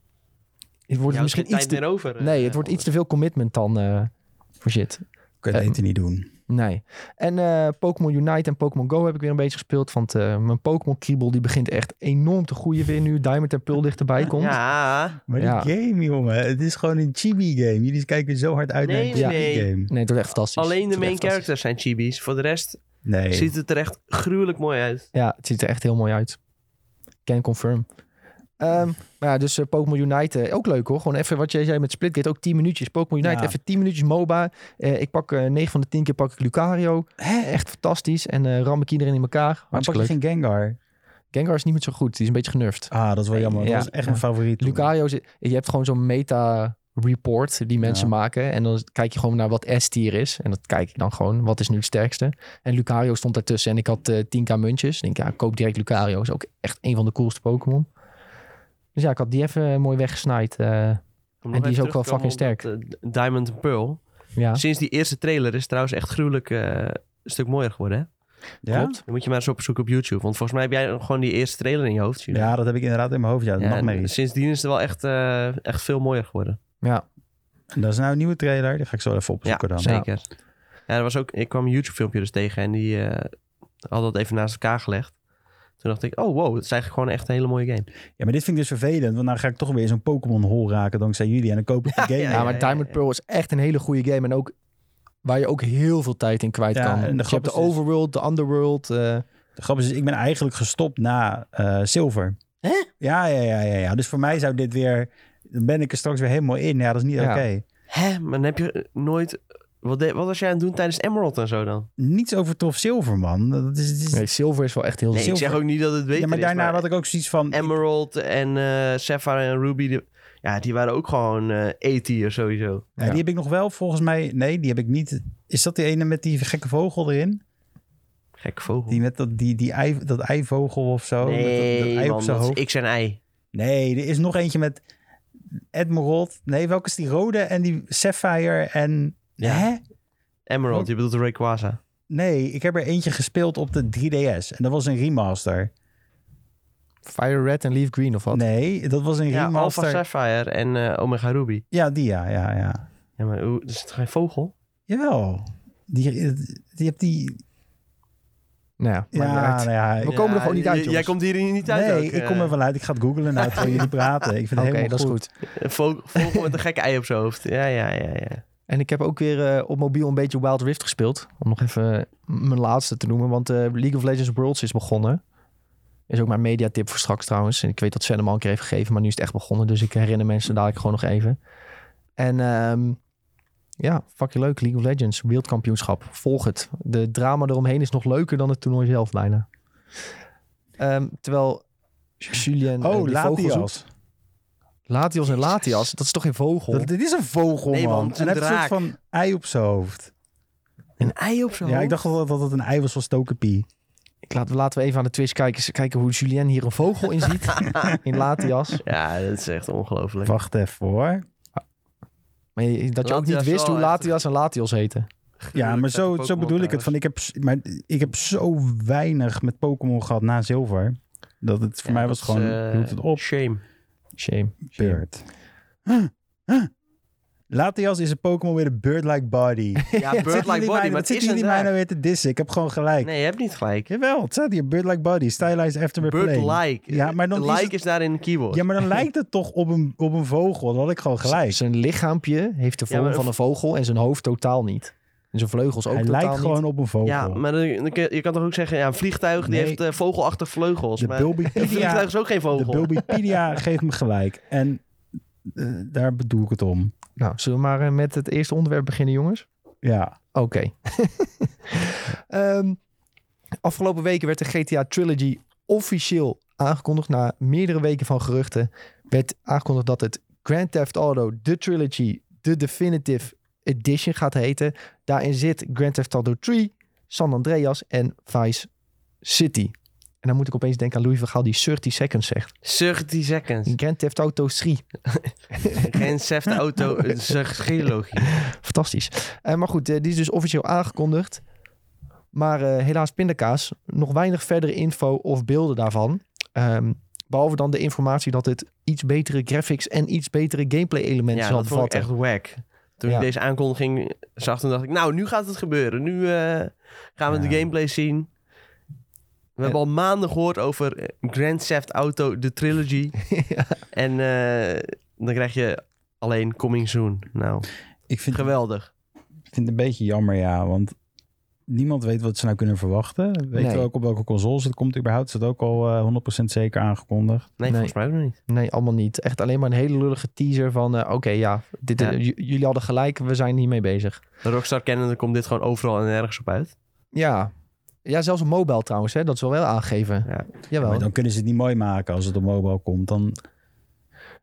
het wordt het Ja, misschien geen iets te... tijd meer over. eh, Nee, het wordt iets te veel commitment dan eh, voor shit. Kun je Eh, het beter niet doen. Nee. En eh, Pokémon Unite en Pokémon Go heb ik weer een beetje gespeeld. Want eh, mijn Pokémon kriebel die begint echt enorm te groeien weer nu. Diamond en Pearl dichterbij komt. Ja, Maar ja. die game, jongen. Het is gewoon een chibi-game. Jullie kijken zo hard uit Nee, naar een nee, chibi-game. Nee, het wordt echt fantastisch. alleen de Het wordt main echt fantastisch. characters zijn chibis. Voor de rest Nee. ziet het er echt gruwelijk mooi uit. Ja, het ziet er echt heel mooi uit. Can confirm. Ehm, maar ja, dus eh, Pokémon Unite, eh, ook leuk hoor. Gewoon even wat jij zei met Splitgate, ook 10 minuutjes. Pokémon Unite, Ja. even 10 minuutjes MOBA. Eh, ik pak eh 9 van de 10 keer pak ik Lucario. Echt fantastisch. En eh, ram ik iedereen in elkaar. Waarom pak Hartstikke je leuk. geen Gengar? Gengar is niet meer zo goed. Die is een beetje genurfd. Ah, dat is wel jammer. Ja. Dat is echt Ja. mijn favoriet. Lucario, zit- je hebt gewoon zo'n meta-report die mensen Ja. maken. En dan kijk je gewoon naar wat S-tier is. En dat kijk ik dan gewoon. Wat is nu het sterkste? En Lucario stond daartussen. En ik had eh, 10k muntjes. Ik denk, ja, koop direct Lucario. Is ook echt een van de coolste Pokémon. Dus ja, ik had die even mooi weggesnaaid. eh, Om nog En die is even ook wel terug te komen fucking op dat, eh, Diamond and Pearl. ja, Sinds die eerste trailer is het trouwens echt gruwelijk eh, een stuk mooier geworden. Hè? Ja? klopt. Dan moet je maar eens opzoeken op YouTube. Want volgens mij heb jij gewoon die eerste trailer in je hoofd. Julian. Ja, dat heb ik inderdaad in mijn hoofd. Ja, Ja, en nachtmerries. sindsdien is het wel echt, eh, echt veel mooier geworden. Ja, Dat is nou een nieuwe trailer. Die ga ik zo even Ja, opzoeken dan. zeker. Ja. er was ook, ik kwam een YouTube filmpje dus tegen en die eh, had dat even naast elkaar gelegd. Toen dacht ik, oh wow, het is eigenlijk gewoon echt een hele mooie game. Ja, maar dit vind ik dus vervelend. Want dan ga ik toch weer zo'n Pokémon-hol raken dankzij jullie. En dan *laughs* koop ik de game. Ja, ja, maar ja, Diamond ja. Pearl is echt een hele goede game. En ook waar je ook heel veel tijd in kwijt Ja, en kan. de Dus je grap hebt de is dus- Overworld, de Underworld. eh, De grap is, dus, ik ben eigenlijk gestopt na eh zilver. Hè? Ja, ja, ja, ja, ja. Dus voor mij zou dit weer... Dan ben ik er straks weer helemaal in. Ja, dat is niet Ja. oké. Hè, maar dan heb je nooit... Wat, de- wat was jij aan het doen tijdens Emerald en zo dan? Niets overtrof zilver, man. Dat is, het is- nee, Silver is wel echt heel... Nee, ik Zilver. zeg ook niet dat het beter ja, maar is, daarna had ik ook zoiets van... Emerald en eh Sapphire en Ruby, die, ja, die waren ook gewoon eh A-tier sowieso. Ja, Die heb ik nog wel volgens mij... Nee, die heb ik niet... Is dat die ene met die gekke vogel erin? Gek vogel. Die met dat, die, die ei, dat eivogel of zo? met dat, dat nee, ei op man, zijn dat hoofd? is X en Y. Nee, er is nog eentje met Admiral. Nee, welke is die rode en die Sapphire en... Ja. Hè? Oh. Emerald, je bedoelt Rayquaza. Nee, ik heb er eentje gespeeld op de 3DS. En dat was een remaster. Fire Red en Leaf Green of wat? Nee, dat was een Ja, Alpha remaster. Sapphire en eh, Omega Ruby. Ja, die ja, ja, ja. Ja, maar hoe, is het geen vogel? Jawel. Die, eh, die hebt die... Nou ja, maakt niet Ja, uit. nou ja. ik- We komen er gewoon niet j- uit, j- Jij jongens. komt hier niet uit nee, ook, ik eh. kom er wel uit. Ik ga het googlen nou terwijl *laughs* jullie praten. Ik vind Oké, het helemaal dat is goed. goed. Een vo- vogel met een gekke ei op zijn hoofd. Ja, ja, ja, ja. En ik heb ook weer eh, op mobiel een beetje Wild Rift gespeeld. Om nog even eh, mijn laatste te noemen. Want eh, League of Legends Worlds is begonnen. Is ook mijn mediatip voor straks trouwens. En ik weet dat Sven hem al een keer heeft gegeven. Maar nu is het echt begonnen. Dus ik herinner mensen dadelijk gewoon nog even. En ehm ja, fucking leuk. League of Legends wereldkampioenschap. Volg het. De drama eromheen is nog leuker dan het toernooi zelf bijna. Ehm, terwijl Julien eh, Oh, die vogel zoekt. Latias. Latios en Latias. Dat is toch geen vogel? Dat, dit is een vogel, Nee, man, man. het is En een hij heeft een soort draak. van ei op zijn hoofd. Een ei op zijn Ja, hoofd? ik dacht wel dat het een ei was van Stokepie. Ik laat, laten we even aan de twist kijken, kijken hoe Julien hier een vogel in ziet. in Latias. Ja, dat is echt ongelooflijk. Wacht even hoor. Maar je- dat je ook Latias niet wist wel hoe echt- Latias en Latios heten. Ja, maar Gelukkig zijn zo, de zo Pokémon bedoel ik het. Van, ik, heb, s- maar, ik heb zo weinig met Pokémon gehad na zilver. Dat het voor Ja, mij dat was is, gewoon, eh, je doet het op, Shame. Shame. beurt. Huh, huh. Latias is een Pokémon met een bird-like *laughs* body. *laughs* Ja, bird-like body, maar wat het is zitten een jullie mij nou draak. weer te dissen? Ik heb gewoon gelijk. Nee, je hebt niet gelijk. Jawel, het staat hier, bird-like body, stylized after we're playing. Bird-like. Ja, maar dan is like is, het- daarin een keyword. Ja, maar dan lijkt het toch op een, op een vogel. Dan had ik gewoon gelijk. Z- Zijn lichaampje heeft de Ja, vorm maar- van een vogel en zijn hoofd totaal niet. En zijn vleugels ook Hij totaal lijkt niet. gewoon op een vogel. Ja, maar dan- dan kun je je kan toch ook zeggen, ja, een vliegtuig die Nee. heeft eh, vogelachtige vleugels. de maar *laughs* een vliegtuig Bulbipedia, is ook geen de vogel. *laughs* Bulbipedia geeft me gelijk. En eh, daar bedoel ik het om. Nou, zullen we maar eh, met het eerste onderwerp beginnen, jongens? Ja, Oké. *laughs* Ehm, afgelopen weken werd de GTA Trilogy officieel aangekondigd. Na meerdere weken van geruchten werd aangekondigd dat het Grand Theft Auto The Trilogy The Definitive Edition gaat heten. Daarin zit Grand Theft Auto 3, San Andreas en Vice City. En dan moet ik opeens denken aan Louis van Gaal die 30 seconds zegt. 30 *laughs* seconds. Grand Theft Auto 3. Geen seft auto, *laughs* een geologie. Fantastisch. Eh, maar goed, eh, die is dus officieel aangekondigd. Maar eh, helaas pindakaas. Nog weinig verdere info of beelden daarvan. Ehm, behalve dan de informatie dat het iets betere graphics en iets betere gameplay elementen Ja, zal dat vond ik bevatten. echt whack. Toen Ja. ik deze aankondiging zag, toen dacht ik, nou, nu gaat het gebeuren. Nu eh, gaan we Ja. de gameplay zien. We Eh. hebben al maanden gehoord over eh, Grand Theft Auto, de trilogy. *laughs* Ja. En eh, dan krijg je alleen Coming Soon. Nou, ik vind, geweldig. ik vind het een beetje jammer, ja. Want niemand weet wat ze nou kunnen verwachten. Weet Nee. we ook op welke consoles het komt überhaupt. Is het ook al eh, 100% zeker aangekondigd. Nee. Nee, volgens mij ook nog niet. Nee, allemaal niet. Echt alleen maar een hele lullige teaser van... eh, Oké, ja, dit, Ja. eh, j- jullie hadden gelijk, we zijn hiermee bezig. Rockstar kennende komt dit gewoon overal en ergens op uit. Ja, ja zelfs op mobile trouwens, hè, dat is wel wel aangegeven. Ja. Jawel. Maar dan kunnen ze het niet mooi maken als het op mobile komt. Dan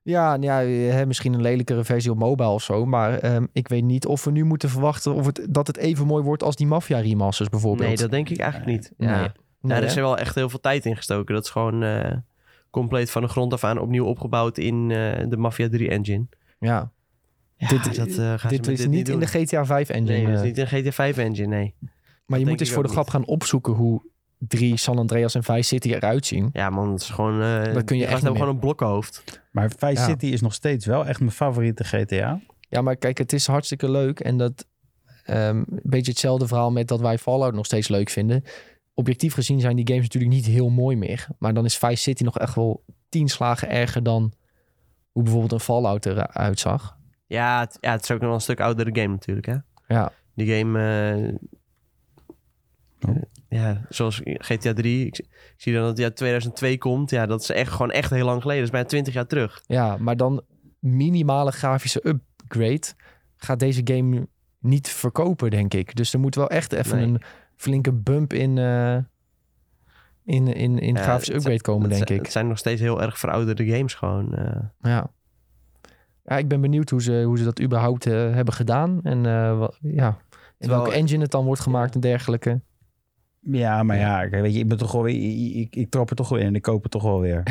Ja, nou ja hè, misschien een lelijkere versie op mobile of zo. Maar ehm, ik weet niet of we nu moeten verwachten of het, dat het even mooi wordt als die Mafia remasters bijvoorbeeld. Nee, dat denk ik eigenlijk niet. Nee. Ja. Nee, Daar hè? is er wel echt heel veel tijd in gestoken. Dat is gewoon eh, compleet van de grond af aan opnieuw opgebouwd in eh, de Mafia 3 engine. ja. Ja, Dit- eh, gaan ze dit met is niet in doen. de GTA 5 engine. Nee, dat eh. is niet een GTA 5 engine, nee. maar je moet denk eens ik voor de ook grap gaan opzoeken hoe drie San Andreas en Vice City eruit zien. Ja man, dat is gewoon... eh Dat kun je die echt gasten hebben niet gewoon een blokkenhoofd. Maar Vice Ja. City is nog steeds wel echt mijn favoriete GTA. Ja, maar kijk, het is hartstikke leuk. En dat ehm, een beetje hetzelfde verhaal met dat wij Fallout nog steeds leuk vinden. Objectief gezien zijn die games natuurlijk niet heel mooi meer. Maar dan is Vice City nog echt wel tien slagen erger dan hoe bijvoorbeeld een Fallout eruit zag. Ja het, ja, het is ook nog wel een stuk oudere game natuurlijk, hè. Ja, Die game... eh, Oh. eh, Ja, zoals GTA 3. Ik, zie- ik zie dan dat het jaar 2002 komt. Ja, dat is echt gewoon echt heel lang geleden. Dat is bijna 20 jaar terug. ja maar dan minimale grafische upgrade gaat deze game niet verkopen, denk ik. Dus er moet wel echt even Nee. een flinke bump in, eh, in, in, in Ja, grafische het- upgrade komen, Dat denk zijn- ik. Het zijn nog steeds heel erg verouderde games gewoon. eh. Ja. ja, ik ben benieuwd hoe ze, hoe ze dat überhaupt eh, hebben gedaan. En eh, wa- ja, in Terwijl- welke engine het dan wordt gemaakt en dergelijke. Ja, maar ja, ik- weet je, ik ben toch wel weer, ik, ik trap er toch wel in en ik koop het toch wel *laughs* weer.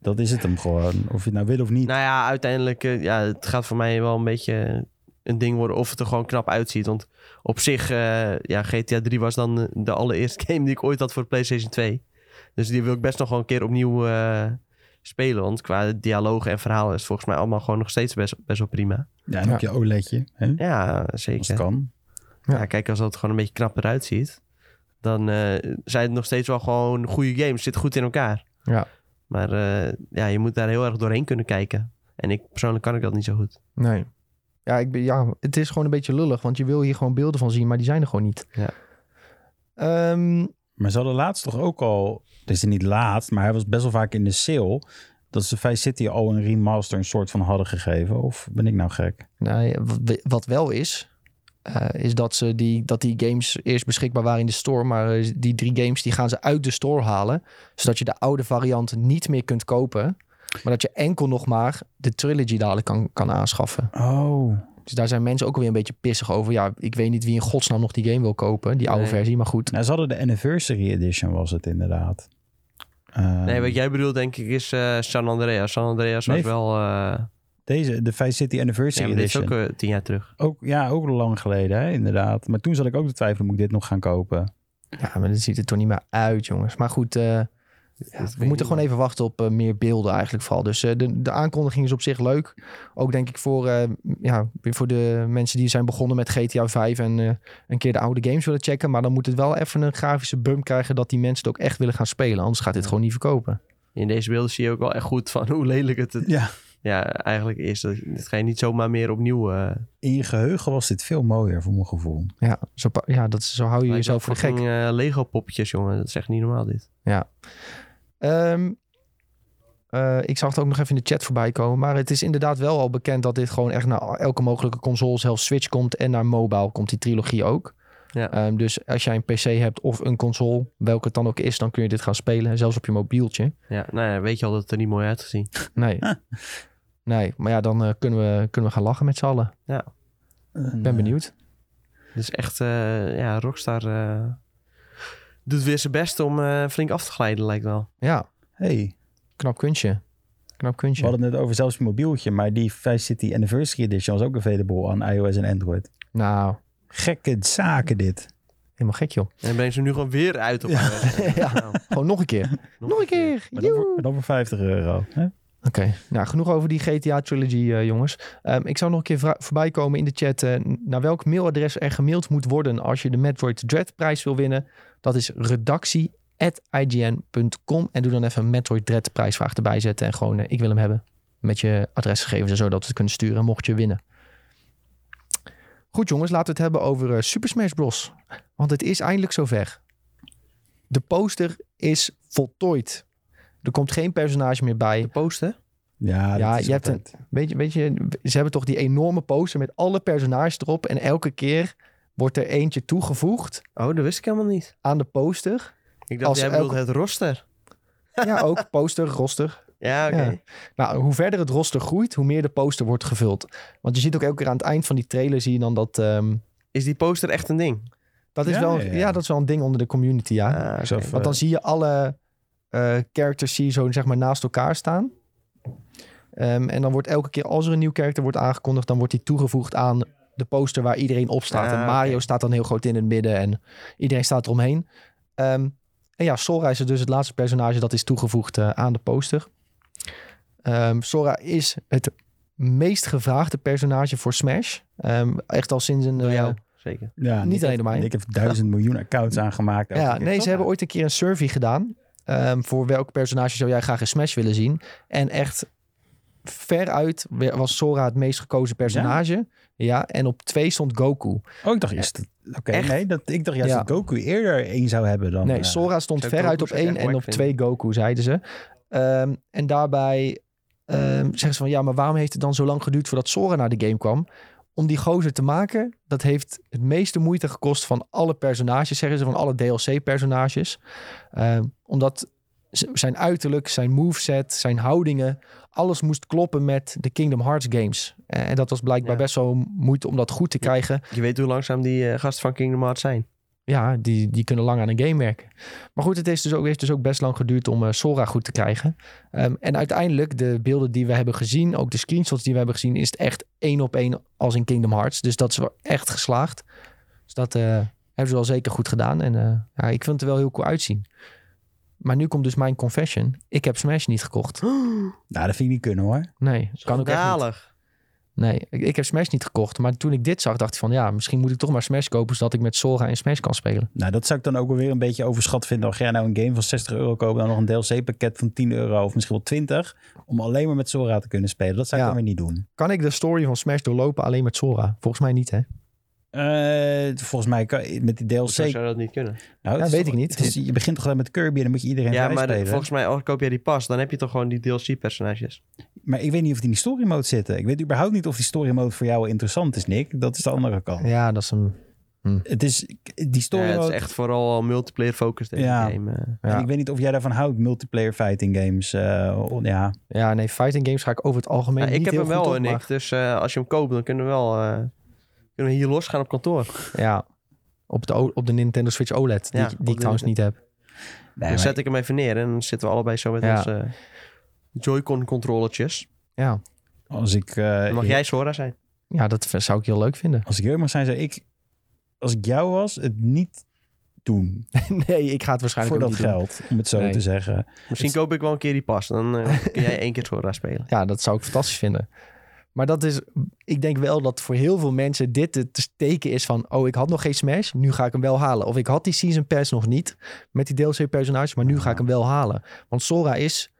dat is het hem gewoon. Of je het nou wil of niet. Nou ja, uiteindelijk, eh, ja, het gaat voor mij wel een beetje een ding worden of het er gewoon knap uitziet. Want op zich, eh, ja, GTA 3 was dan eh, de allereerste *laughs* game die ik ooit had voor de PlayStation 2. Dus die wil ik best nog wel een keer opnieuw eh, spelen. Want qua dialogen en verhalen is het volgens mij allemaal gewoon nog steeds best, best wel prima. ja, en ook je OLEDje, hè? Ja, als het zeker. kan. Ja, kijk, als dat gewoon een beetje knapper uitziet, dan eh, zijn het nog steeds wel gewoon goede games. Zit goed in elkaar. Ja. Maar eh, ja, je moet daar heel erg doorheen kunnen kijken. En ik persoonlijk kan ik dat niet zo goed. Nee. Ja, ik ben, ja, het is gewoon een beetje lullig, want je wil hier gewoon beelden van zien, maar die zijn er gewoon niet. Ja. Ehm, Maar ze hadden laatst toch ook al, dus niet laatst, maar hij was best wel vaak in de sale, dat ze Vice City al een remaster een soort van hadden gegeven. Of ben ik nou gek? nou, ja, wat- wat wel is, eh, is dat, ze die, dat die games eerst beschikbaar waren in de store, maar eh, die drie games die gaan ze uit de store halen, zodat je de oude variant niet meer kunt kopen, maar dat je enkel nog maar de trilogy dadelijk kan, kan aanschaffen. Oh. Dus daar zijn mensen ook alweer een beetje pissig over. Ja, ik weet niet wie in godsnaam nog die game wil kopen, die oude Nee. versie. Maar goed, Nou, ze hadden de Anniversary Edition was het inderdaad. Ehm, Nee, wat jij bedoelt denk ik is eh, San Andreas. San Andreas was Nee, wel... eh Deze, de Vice City ja, Anniversary maar dit is Edition. ook eh, tien jaar terug. Ook, ja, ook lang geleden, hè, inderdaad. Maar toen zat ik ook te twijfelen, moet ik dit nog gaan kopen? ja, maar dat ziet er toch niet meer uit, jongens. Maar goed, eh, we moeten gewoon even wachten op eh, meer beelden eigenlijk vooral. Dus eh, de, de aankondiging is op zich leuk. Ook denk ik voor, eh, ja, weer voor de mensen die zijn begonnen met GTA 5 en eh, een keer de oude games willen checken. Maar dan moet het wel even een grafische bump krijgen dat die mensen het ook echt willen gaan spelen. Anders gaat dit gewoon niet verkopen. In deze beelden zie je ook wel echt goed van hoe lelijk het, het Ja. ja, eigenlijk is dat, dit ga je niet zomaar meer opnieuw... eh, In je geheugen was dit veel mooier voor mijn gevoel. Ja, zo, pa- ja dat, is- zo hou je lijkt wel jezelf voor de gek. fucking, eh, Lego poppetjes, jongen. Dat is echt niet normaal dit. Ehm, eh, ik zag het ook nog even in de chat voorbij komen. Maar het is inderdaad wel al bekend dat dit gewoon echt naar elke mogelijke console, zelfs Switch komt. En naar mobile komt die trilogie ook. Ja. Ehm, dus als jij een PC hebt of een console, welke het dan ook is, dan kun je dit gaan spelen. Zelfs op je mobieltje. Ja, nou ja, weet je al dat het er niet mooi uitgezien. Nee. Nee, maar ja, dan eh, kunnen, we, kunnen we gaan lachen met z'n allen. Eh, Ik ben benieuwd. Het is echt, eh, ja, Rockstar eh, doet weer zijn best om eh, flink af te glijden, lijkt wel. Ja, Hey, knap kunstje. Knap we kunstje. hadden het net over zelfs een mobieltje, maar die Vice City Anniversary Edition was ook available aan iOS en Android. Nou, Gekke zaken dit. helemaal gek joh. En dan brengt ze hem nu gewoon weer uit op iOS. *laughs* Ja. Nou, Gewoon nog een keer. *laughs* Nog een keer. Maar dan, Joe. voor, maar dan voor 50 euro. Hè? Oké, nou genoeg over die GTA-trilogy, jongens. Ehm, ik zou nog een keer vra- voorbij komen in de chat eh, naar welk mailadres er gemaild moet worden als je de Metroid Dread prijs wil winnen. Dat is redactie.ign.com en doe dan even een Metroid Dread prijsvraag erbij zetten en gewoon eh, ik wil hem hebben met je adresgegevens en zo dat we het kunnen sturen mocht je winnen. Goed jongens, laten we het hebben over eh, Super Smash Bros. Want het is eindelijk zover. De poster is voltooid. Er komt geen personage meer bij. De posten? Ja, Ja, dat is je hebt altijd- Weet je, weet je, ze hebben toch die enorme poster met alle personages erop. En elke keer wordt er eentje toegevoegd Oh, dat wist ik helemaal niet. aan de poster. Ik dacht, Als jij elke- bedoelt het roster. Ja, *laughs* ook poster, roster. Ja, oké. Ja. Nou, hoe verder het roster groeit, hoe meer de poster wordt gevuld. Want je ziet ook elke keer aan het eind van die trailer zie je dan dat... ehm, Is die poster echt een ding? dat is Ja, wel, ja, ja. ja. dat is wel een ding onder de community, ja. Ah, oké. Ik zou even- Want dan zie je alle eh, characters zie je zo zeg maar naast elkaar staan. Ehm, en dan wordt elke keer als er een nieuw character wordt aangekondigd, dan wordt die toegevoegd aan de poster waar iedereen op staat. Ah, en Mario oké. staat dan heel groot in het midden en iedereen staat eromheen. Ehm, en ja, Sora is er dus het laatste personage dat is toegevoegd eh, aan de poster. Ehm, Sora is het meest gevraagde personage voor Smash. Ehm, echt al sinds een... Door eh, jou, zeker. Ja, niet Nick alleen heeft- door mij. Nick heeft duizend miljoen accounts aangemaakt. Ja, Elke keer. nee, ze Top. hebben ooit een keer een survey gedaan. ehm, voor welk personage zou jij graag in Smash willen zien? En echt veruit was Sora het meest gekozen personage. Ja, en op twee stond Goku. Oh, ik dacht eerst... dat- Oké, Echt? nee, dat, ik dacht juist Ja. dat Goku eerder één zou hebben dan... Nee, eh, Sora stond zou veruit Goku op zich echt één en wack op vinden. twee Goku, zeiden ze. Ehm, en daarbij ehm, zeggen ze van... Ja, maar waarom heeft het dan zo lang geduurd voordat Sora naar de game kwam? Om die gozer te maken, dat heeft het meeste moeite gekost van alle personages, zeggen ze, van alle DLC-personages. Ehm, omdat z- zijn uiterlijk, zijn moveset, zijn houdingen, alles moest kloppen met de Kingdom Hearts games. Eh, En dat was blijkbaar Ja. best wel moeite om dat goed te Ja. krijgen. Je weet hoe langzaam die eh, gasten van Kingdom Hearts zijn. Ja, die, die kunnen lang aan een game werken. Maar goed, het is dus ook, heeft dus ook best lang geduurd om eh, Sora goed te krijgen. Ehm, en uiteindelijk, de beelden die we hebben gezien, ook de screenshots die we hebben gezien, is het echt één op één als in Kingdom Hearts. Dus dat is wel echt geslaagd. Dus dat eh, hebben ze wel zeker goed gedaan. En eh, ja, ik vind het er wel heel cool uitzien. Maar nu komt dus mijn confession. Ik heb Smash niet gekocht. Nou, dat vind ik niet kunnen hoor. Nee, kan ook echt niet. Schandalig. Nee, ik, ik heb Smash niet gekocht. Maar toen ik dit zag, dacht ik van ja, misschien moet ik toch maar Smash kopen, zodat ik met Sora en Smash kan spelen. Nou, dat zou ik dan ook wel weer een beetje overschat vinden. Al ga jij nou een game van 60 euro kopen, dan nog een DLC-pakket van 10 euro of misschien wel 20. Om alleen maar met Sora te kunnen spelen. Dat zou ik Ja. dan weer niet doen. Kan ik de story van Smash doorlopen alleen met Sora? Volgens mij niet, hè? Eh, volgens mij kan, met die DLC... Zo zou dat niet kunnen. Nou, Ja, het is weet toch- ik niet. het is- je begint toch alleen met Kirby en dan moet je iedereen Ja, ja, maar de- spelen. volgens mij, als koop jij die pas, dan heb je toch gewoon die DLC-personages. Maar ik weet niet of die in die story mode zitten. Ik weet überhaupt niet of die story mode voor jou interessant is, Nick. Dat is de andere kant. Ja, dat is een... Het is die Ja, story het mode. is echt vooral multiplayer-focused in Ja. de game. eh. Ja. En ik weet niet of jij daarvan houdt, multiplayer fighting games. eh, oh, ja. ja, nee, fighting games ga ik over het algemeen Nou, niet ik heb heel hem wel, goed op, hoor, Nick. maar- Dus eh, als je hem koopt, dan kunnen we wel... eh, kunnen we hier los gaan op kantoor. Ja, op de, O- op de Nintendo Switch OLED, Ja, die, op die de- ik trouwens niet heb. Nee, dan maar zet ik hem even neer en dan zitten we allebei zo met Ja. onze Joy-Con-controllertjes. Ja. als ik, eh, Dan mag jij Sora zijn. ja, dat v- zou ik heel leuk *laughs* vinden. als ik heel mag zijn, zou ik, als ik jou was, het niet doen. nee, ik ga het voor waarschijnlijk ook dat niet doen. geld, om het zo Nee. te zeggen. Misschien Het- koop ik wel een keer die pas. Dan eh, kun jij één keer Sora spelen. Ja, dat zou ik fantastisch vinden. Maar dat is, ik denk wel dat voor heel veel mensen dit het teken is van... oh, ik had nog geen Smash, nu ga ik hem wel halen. Of ik had die Season Pass nog niet met die DLC-personages... maar nu ga ik hem wel halen. Want Sora is,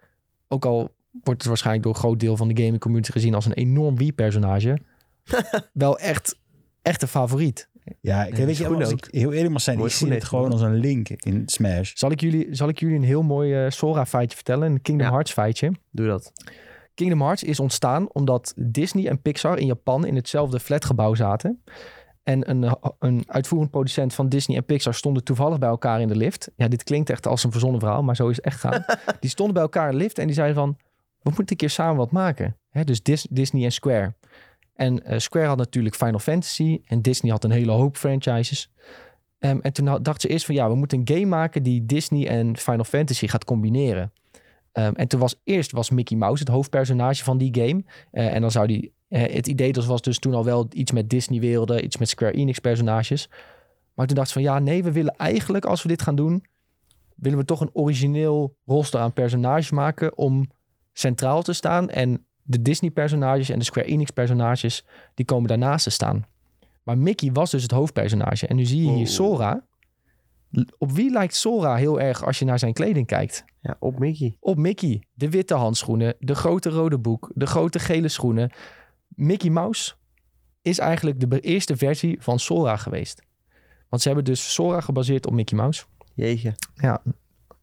ook al wordt het waarschijnlijk door een groot deel van de gaming community gezien als een enorm Wii-personage. wel echt, echt een favoriet. Ja, ik die weet je, schoenen als ik heel eerlijk mag zijn, Mooie ik zie schoenen het gewoon als een link in Smash. Zal ik jullie, zal ik jullie een heel mooi eh, Sora-feitje vertellen? Een Kingdom Ja. Hearts feitje. Doe dat. Kingdom Hearts is ontstaan omdat Disney en Pixar in Japan in hetzelfde flatgebouw zaten. En een, eh, een uitvoerend producent van Disney en Pixar stonden toevallig bij elkaar in de lift. Ja, dit klinkt echt als een verzonnen verhaal, maar zo is het echt gaan. die stonden bij elkaar in de lift en die zeiden van, we moeten een keer samen wat maken. Hè, dus Dis- Disney en Square. En eh, Square had natuurlijk Final Fantasy en Disney had een hele hoop franchises. Ehm, en toen had- dacht ze eerst van, ja, we moeten een game maken die Disney en Final Fantasy gaat combineren. Ehm, en toen was eerst was Mickey Mouse het hoofdpersonage van die game. Eh, en dan zou die. eh, het idee dat was dus toen al wel iets met Disney-werelden, iets met Square Enix-personages. Maar toen dacht ze van ja, nee, we willen eigenlijk als we dit gaan doen. willen we toch een origineel roster aan personages maken. om centraal te staan. En de Disney-personages en de Square Enix-personages. die komen daarnaast te staan. Maar Mickey was dus het hoofdpersonage. En nu zie je hier Wow. Sora. L- Op wie lijkt Sora heel erg als je naar zijn kleding kijkt? Ja, op Mickey. op Mickey. De witte handschoenen, de grote rode boek, de grote gele schoenen. Mickey Mouse is eigenlijk de be- eerste versie van Sora geweest. Want ze hebben dus Sora gebaseerd op Mickey Mouse. Jeetje.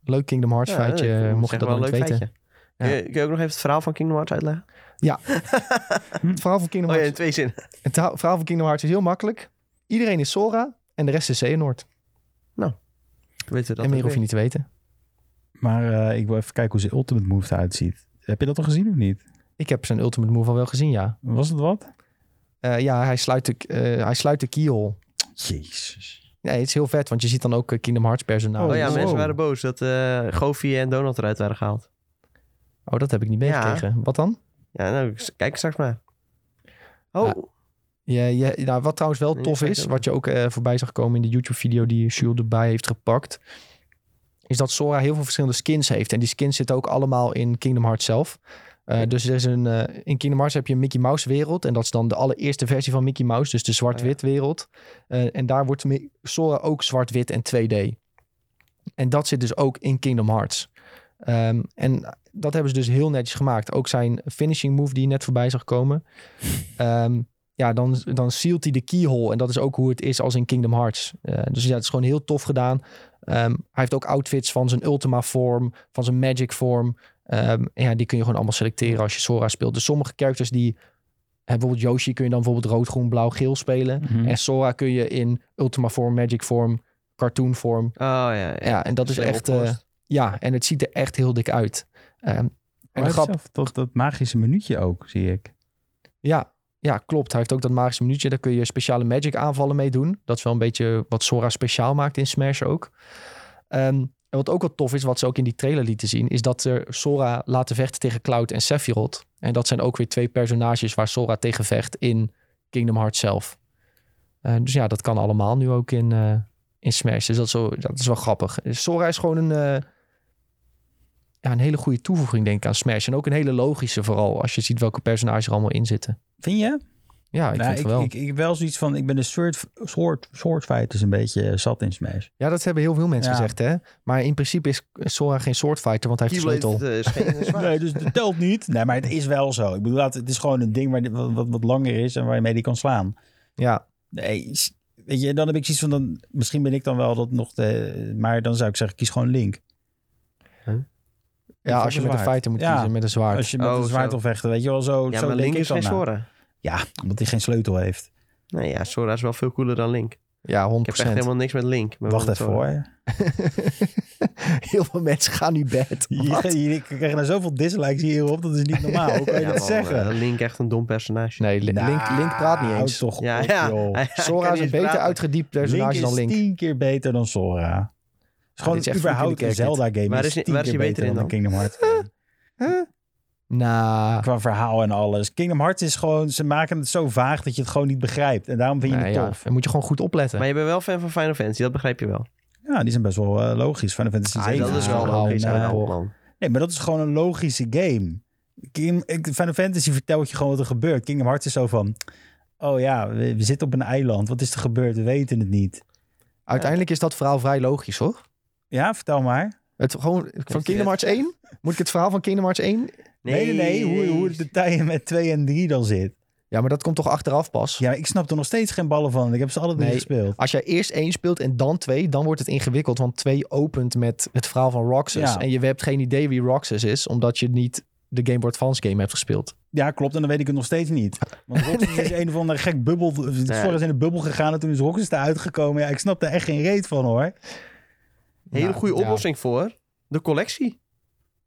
Leuk Kingdom Hearts Ja, feitje, ik moet mocht je zeggen, dat wel nog niet een leuk weten. feitje. Kun, je, kun je ook nog even het verhaal van Kingdom Hearts uitleggen? Het verhaal van Kingdom Oh ja, Hearts, in twee zinnen. het verhaal verhaal van Kingdom Hearts is heel makkelijk. Iedereen is Sora en de rest is Xehanort. Weten we dat En meer ook hoef je weer. niet te weten. Maar eh, ik wil even kijken hoe zijn Ultimate Move eruit ziet. Heb je dat al gezien of niet? Ik heb zijn Ultimate Move al wel gezien, ja. Was het wat? Eh, ja, hij sluit, de, eh, hij sluit de keyhole. Jezus. Nee, het is heel vet, want je ziet dan ook eh, Kingdom Hearts personages. niet. Oh ja, Wow. mensen waren boos dat eh Goofy en Donald eruit waren gehaald. Oh, dat heb ik niet Ja. meegekregen. Wat dan? Ja, nou, ik- kijk straks maar. Oh, Ja. Ja, ja, nou, wat trouwens wel Nee, tof ik is, ook. wat je ook eh, voorbij zag komen in de YouTube-video die Jules erbij heeft gepakt, is dat Sora heel veel verschillende skins heeft. En die skins zitten ook allemaal in Kingdom Hearts zelf. Eh, Dus er is een, eh, in Kingdom Hearts heb je een Mickey Mouse wereld. En dat is dan de allereerste versie van Mickey Mouse, dus de zwart-wit wereld. Eh, en daar wordt Mi- Sora ook zwart-wit en 2D. En dat zit dus ook in Kingdom Hearts. Ehm, en dat hebben ze dus heel netjes gemaakt. Ook zijn finishing move die je net voorbij zag komen. Ehm, ja, dan, dan sealt hij de keyhole. En dat is ook hoe het is als in Kingdom Hearts. Eh, dus ja, het is gewoon heel tof gedaan. Ehm, hij heeft ook outfits van zijn Ultima vorm, van zijn Magic vorm. Ehm, en ja, die kun je gewoon allemaal selecteren als je Sora speelt. Dus sommige characters die... eh, Bijvoorbeeld Yoshi kun je dan bijvoorbeeld rood, groen, blauw, geel spelen. Mhm. En Sora kun je in Ultima vorm, Magic vorm, cartoon vorm. oh ja, ja. Ja, en dat is Slim echt... eh, opgelost. ja, en het ziet er echt heel dik uit. Ehm, en de En dat, grap, grap... dat, dat magische minuutje ook, zie ik. Ja, ja, klopt. Hij heeft ook dat magische minuutje. Daar kun je speciale magic aanvallen mee doen. Dat is wel een beetje wat Sora speciaal maakt in Smash ook. Ehm, en wat ook wel tof is, wat ze ook in die trailer lieten zien, is dat ze Sora laten vechten tegen Cloud en Sephiroth. En dat zijn ook weer twee personages waar Sora tegen vecht in Kingdom Hearts zelf. Eh, dus ja, dat kan allemaal nu ook in, eh, in Smash. Dus dat is, wel, dat is wel grappig. Sora is gewoon een, eh, ja, een hele goede toevoeging, denk ik, aan Smash. En ook een hele logische vooral, als je ziet welke personages er allemaal in zitten. Vind je? Ja, ik nou, vind het wel. Ik, ik, wel zoiets van, ik ben de soort, soort, soort fighters een beetje eh, zat in Smash. ja, dat hebben heel veel mensen Ja. gezegd, hè. Maar in principe is Sora geen swordfighter, want hij heeft de Keyblade sleutel. eh, is geen *laughs* zwaard. Nee, dus dat telt niet. Nee, maar het is wel zo. Ik bedoel, laat- het is gewoon een ding waar, wat, wat, wat langer is en waar je mee die kan slaan. Ja, Nee, s- weet je, dan heb ik zoiets van, dan, misschien ben ik dan wel dat nog, de, maar dan zou ik zeggen, kies gewoon Link. ja als je met een zwaard. fighter moet Ja. kiezen, met een zwaard. Als je met Oh, een zwaard zo. wil vechten, weet je wel, zo, Ja, zo maar denk Link ik is dan geen na. Sora. Ja, omdat hij geen sleutel heeft. Nee, ja, Sora is wel veel cooler dan Link. Ja, 100%. Ik heb echt helemaal niks met Link. maar Wacht wel met even Sora. hoor. *laughs* heel veel mensen gaan nu bed. *laughs* Wat? Je, je krijgt nou zoveel dislikes hierop, dat is niet normaal. Hoe kan je Ja, dat man, zeggen? eh, Link echt een dom personage. Nee, Li- Nou, Link, Link praat niet hou eens. toch Ja, op, ja. joh. Hij- hij Sora kan is niet een eens beter praten. uitgediept Link personage is dan Link. tien keer beter dan Sora. Het is dit gewoon is echt überhaupt goede een kerk, dit. Zelda-game. Waar is is hij- tien waar is keer hij beter in dan? een Kingdom Hearts. *laughs* Nou, Qua verhaal en alles. Kingdom Hearts is gewoon... Ze maken het zo vaag dat je het gewoon niet begrijpt. En daarom vind je nee, het nou ja, tof. dan moet je gewoon goed opletten. Maar je bent wel fan van Final Fantasy, dat begrijp je wel. Ja. die zijn best wel eh, logisch. Final Fantasy Ah, 7. dat is wel nou, logisch. nou, ja, nou. man. eh, Nee, maar dat is gewoon een logische game. King, ik- Final Fantasy vertelt je gewoon wat er gebeurt. Kingdom Hearts is zo van... Oh ja, we, we zitten op een eiland. Wat is er gebeurd? We weten het niet. Uiteindelijk is dat verhaal vrij logisch, hoor. Ja, vertel maar. Het, gewoon, van Kingdom Hearts 1? Moet ik het verhaal van Kingdom Hearts 1 Nee, nee, nee. Hoe, hoe de tijden met 2 en 3 dan zit. Ja, maar dat komt toch achteraf pas? Ja, maar ik snap er nog steeds geen ballen van. Ik heb ze alle drie Nee. gespeeld. Als jij eerst één speelt en dan twee, dan wordt het ingewikkeld. Want twee opent met het verhaal van Roxas. Ja. En je hebt geen idee wie Roxas is, omdat je niet de Game Boy Advance game hebt gespeeld. Ja, klopt. En dan weet ik het nog steeds niet. Want Roxas is een of andere gek bubbel. Voor is in een bubbel gegaan en toen is Roxas eruit gekomen. Ja, ik snap daar echt geen reet van hoor. Hele Nou, goede ja. oplossing voor de collectie.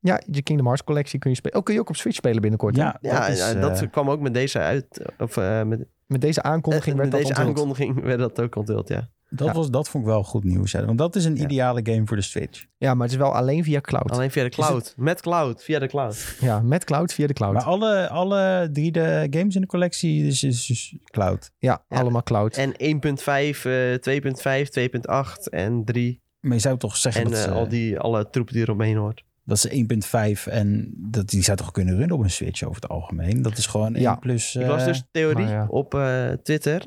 Ja, je Kingdom Hearts collectie kun je spelen. Oh, kun je ook op Switch spelen binnenkort. hè? Ja, Ja, dat is, ja, eh, dat kwam ook met deze uit. Of eh, met, eh, Met deze aankondiging werd met dat deze onthuld. aankondiging *laughs* werd dat ook onthuld, ja. dat, ja. was, dat vond ik wel goed nieuws. ja. Want dat is een Ja. ideale game voor de Switch. Ja, maar het is wel alleen via cloud. Alleen via de cloud. Met cloud. Via de cloud. Ja, met cloud, via de cloud. Maar alle, alle drie de games in de collectie is, is, is cloud. ja, Ja. allemaal cloud. En 1.5, eh, 2.5, 2.8 en 3. Maar je zou toch zeggen En dat, eh, ze, al die, alle troepen die eromheen hoort. dat ze 1.5 en dat die zou toch kunnen runnen op een Switch over het algemeen. Dat is gewoon Ja. 1 plus... Ik las eh, dus theorie maar ja. op eh, Twitter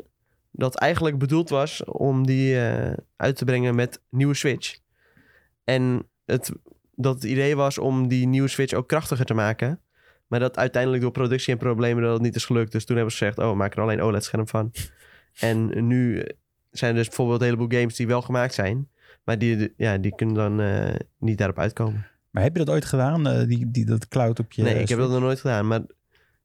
dat eigenlijk bedoeld was om die eh, uit te brengen met nieuwe Switch. En het, dat het idee was om die nieuwe Switch ook krachtiger te maken. Maar dat uiteindelijk door productie en problemen dat het niet is gelukt. Dus toen hebben ze gezegd, oh, maak er alleen OLED-scherm *laughs* van. en nu eh, zijn er dus bijvoorbeeld een heleboel games die wel gemaakt zijn. Maar die, ja, die kunnen dan eh, niet daarop uitkomen. Maar heb je dat ooit gedaan, eh, die, die, dat cloud op je nee, ik heb Switch? dat nog nooit gedaan. Maar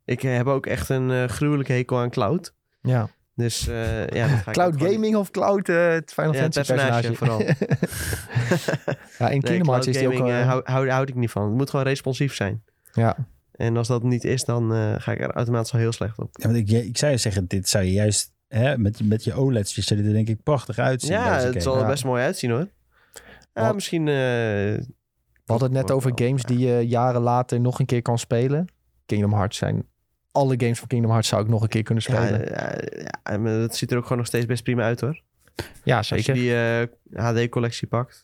ik eh, heb ook echt een eh, gruwelijke hekel aan cloud. ja. Dus eh, ja, dat ga ik Cloud ook gewoon- gaming of cloud eh, het Final Ja, het Fantasy personage. *laughs* personage vooral. ja, in *laughs* Nee, Kingdom Hearts cloud is die ook... gaming eh, eh, hou, hou, houd ik niet van. Het moet gewoon responsief zijn. Ja. En als dat niet is, dan eh, ga ik er automatisch al heel slecht op. Ja, want ik, ik zou je zeggen, dit zou je juist hè, met, met je OLED's dit zou dit er denk ik prachtig uitzien. ja, deze het game. zal er ja. best mooi uitzien hoor. Ja, Wat- misschien... eh, We hadden het net over Wordt wel games die je jaren later nog een keer kan spelen. Kingdom Hearts zijn... Alle games van Kingdom Hearts zou ik nog een keer kunnen ja, spelen. Ja, eh, ja, maar dat ziet er ook gewoon nog steeds best prima uit hoor. Als je zeker. die HD-collectie pakt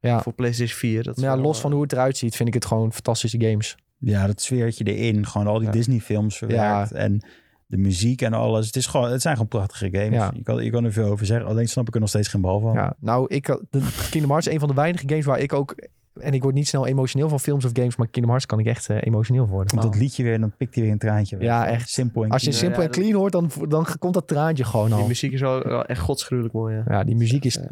Ja. voor PlayStation 4. Dat is Maar ja, wel, eh, los van hoe het eruit ziet, vind ik het gewoon fantastische games. Ja, dat sfeertje erin. Gewoon al die Ja. Disney-films verwerkt. En de muziek en alles. Het, is gewoon, het zijn gewoon prachtige games. Ja. Je, kan, je kan er veel over zeggen. Alleen snap ik er nog steeds geen bal van. Ja, nou, ik, had- de, Kingdom Hearts is een van de weinige games waar ik ook... En ik word niet snel emotioneel van films of games, maar Kingdom Hearts kan ik echt eh, emotioneel voor worden. Komt nou. dat liedje weer en dan pikt hij weer een traantje weg. Ja, echt. Simpel en Als je clean. Ja, simpel ja, en clean hoort, dan, dan komt dat traantje gewoon Die al. muziek is wel, wel echt godsgruwelijk mooi. Ja. Ja, die muziek is Eh,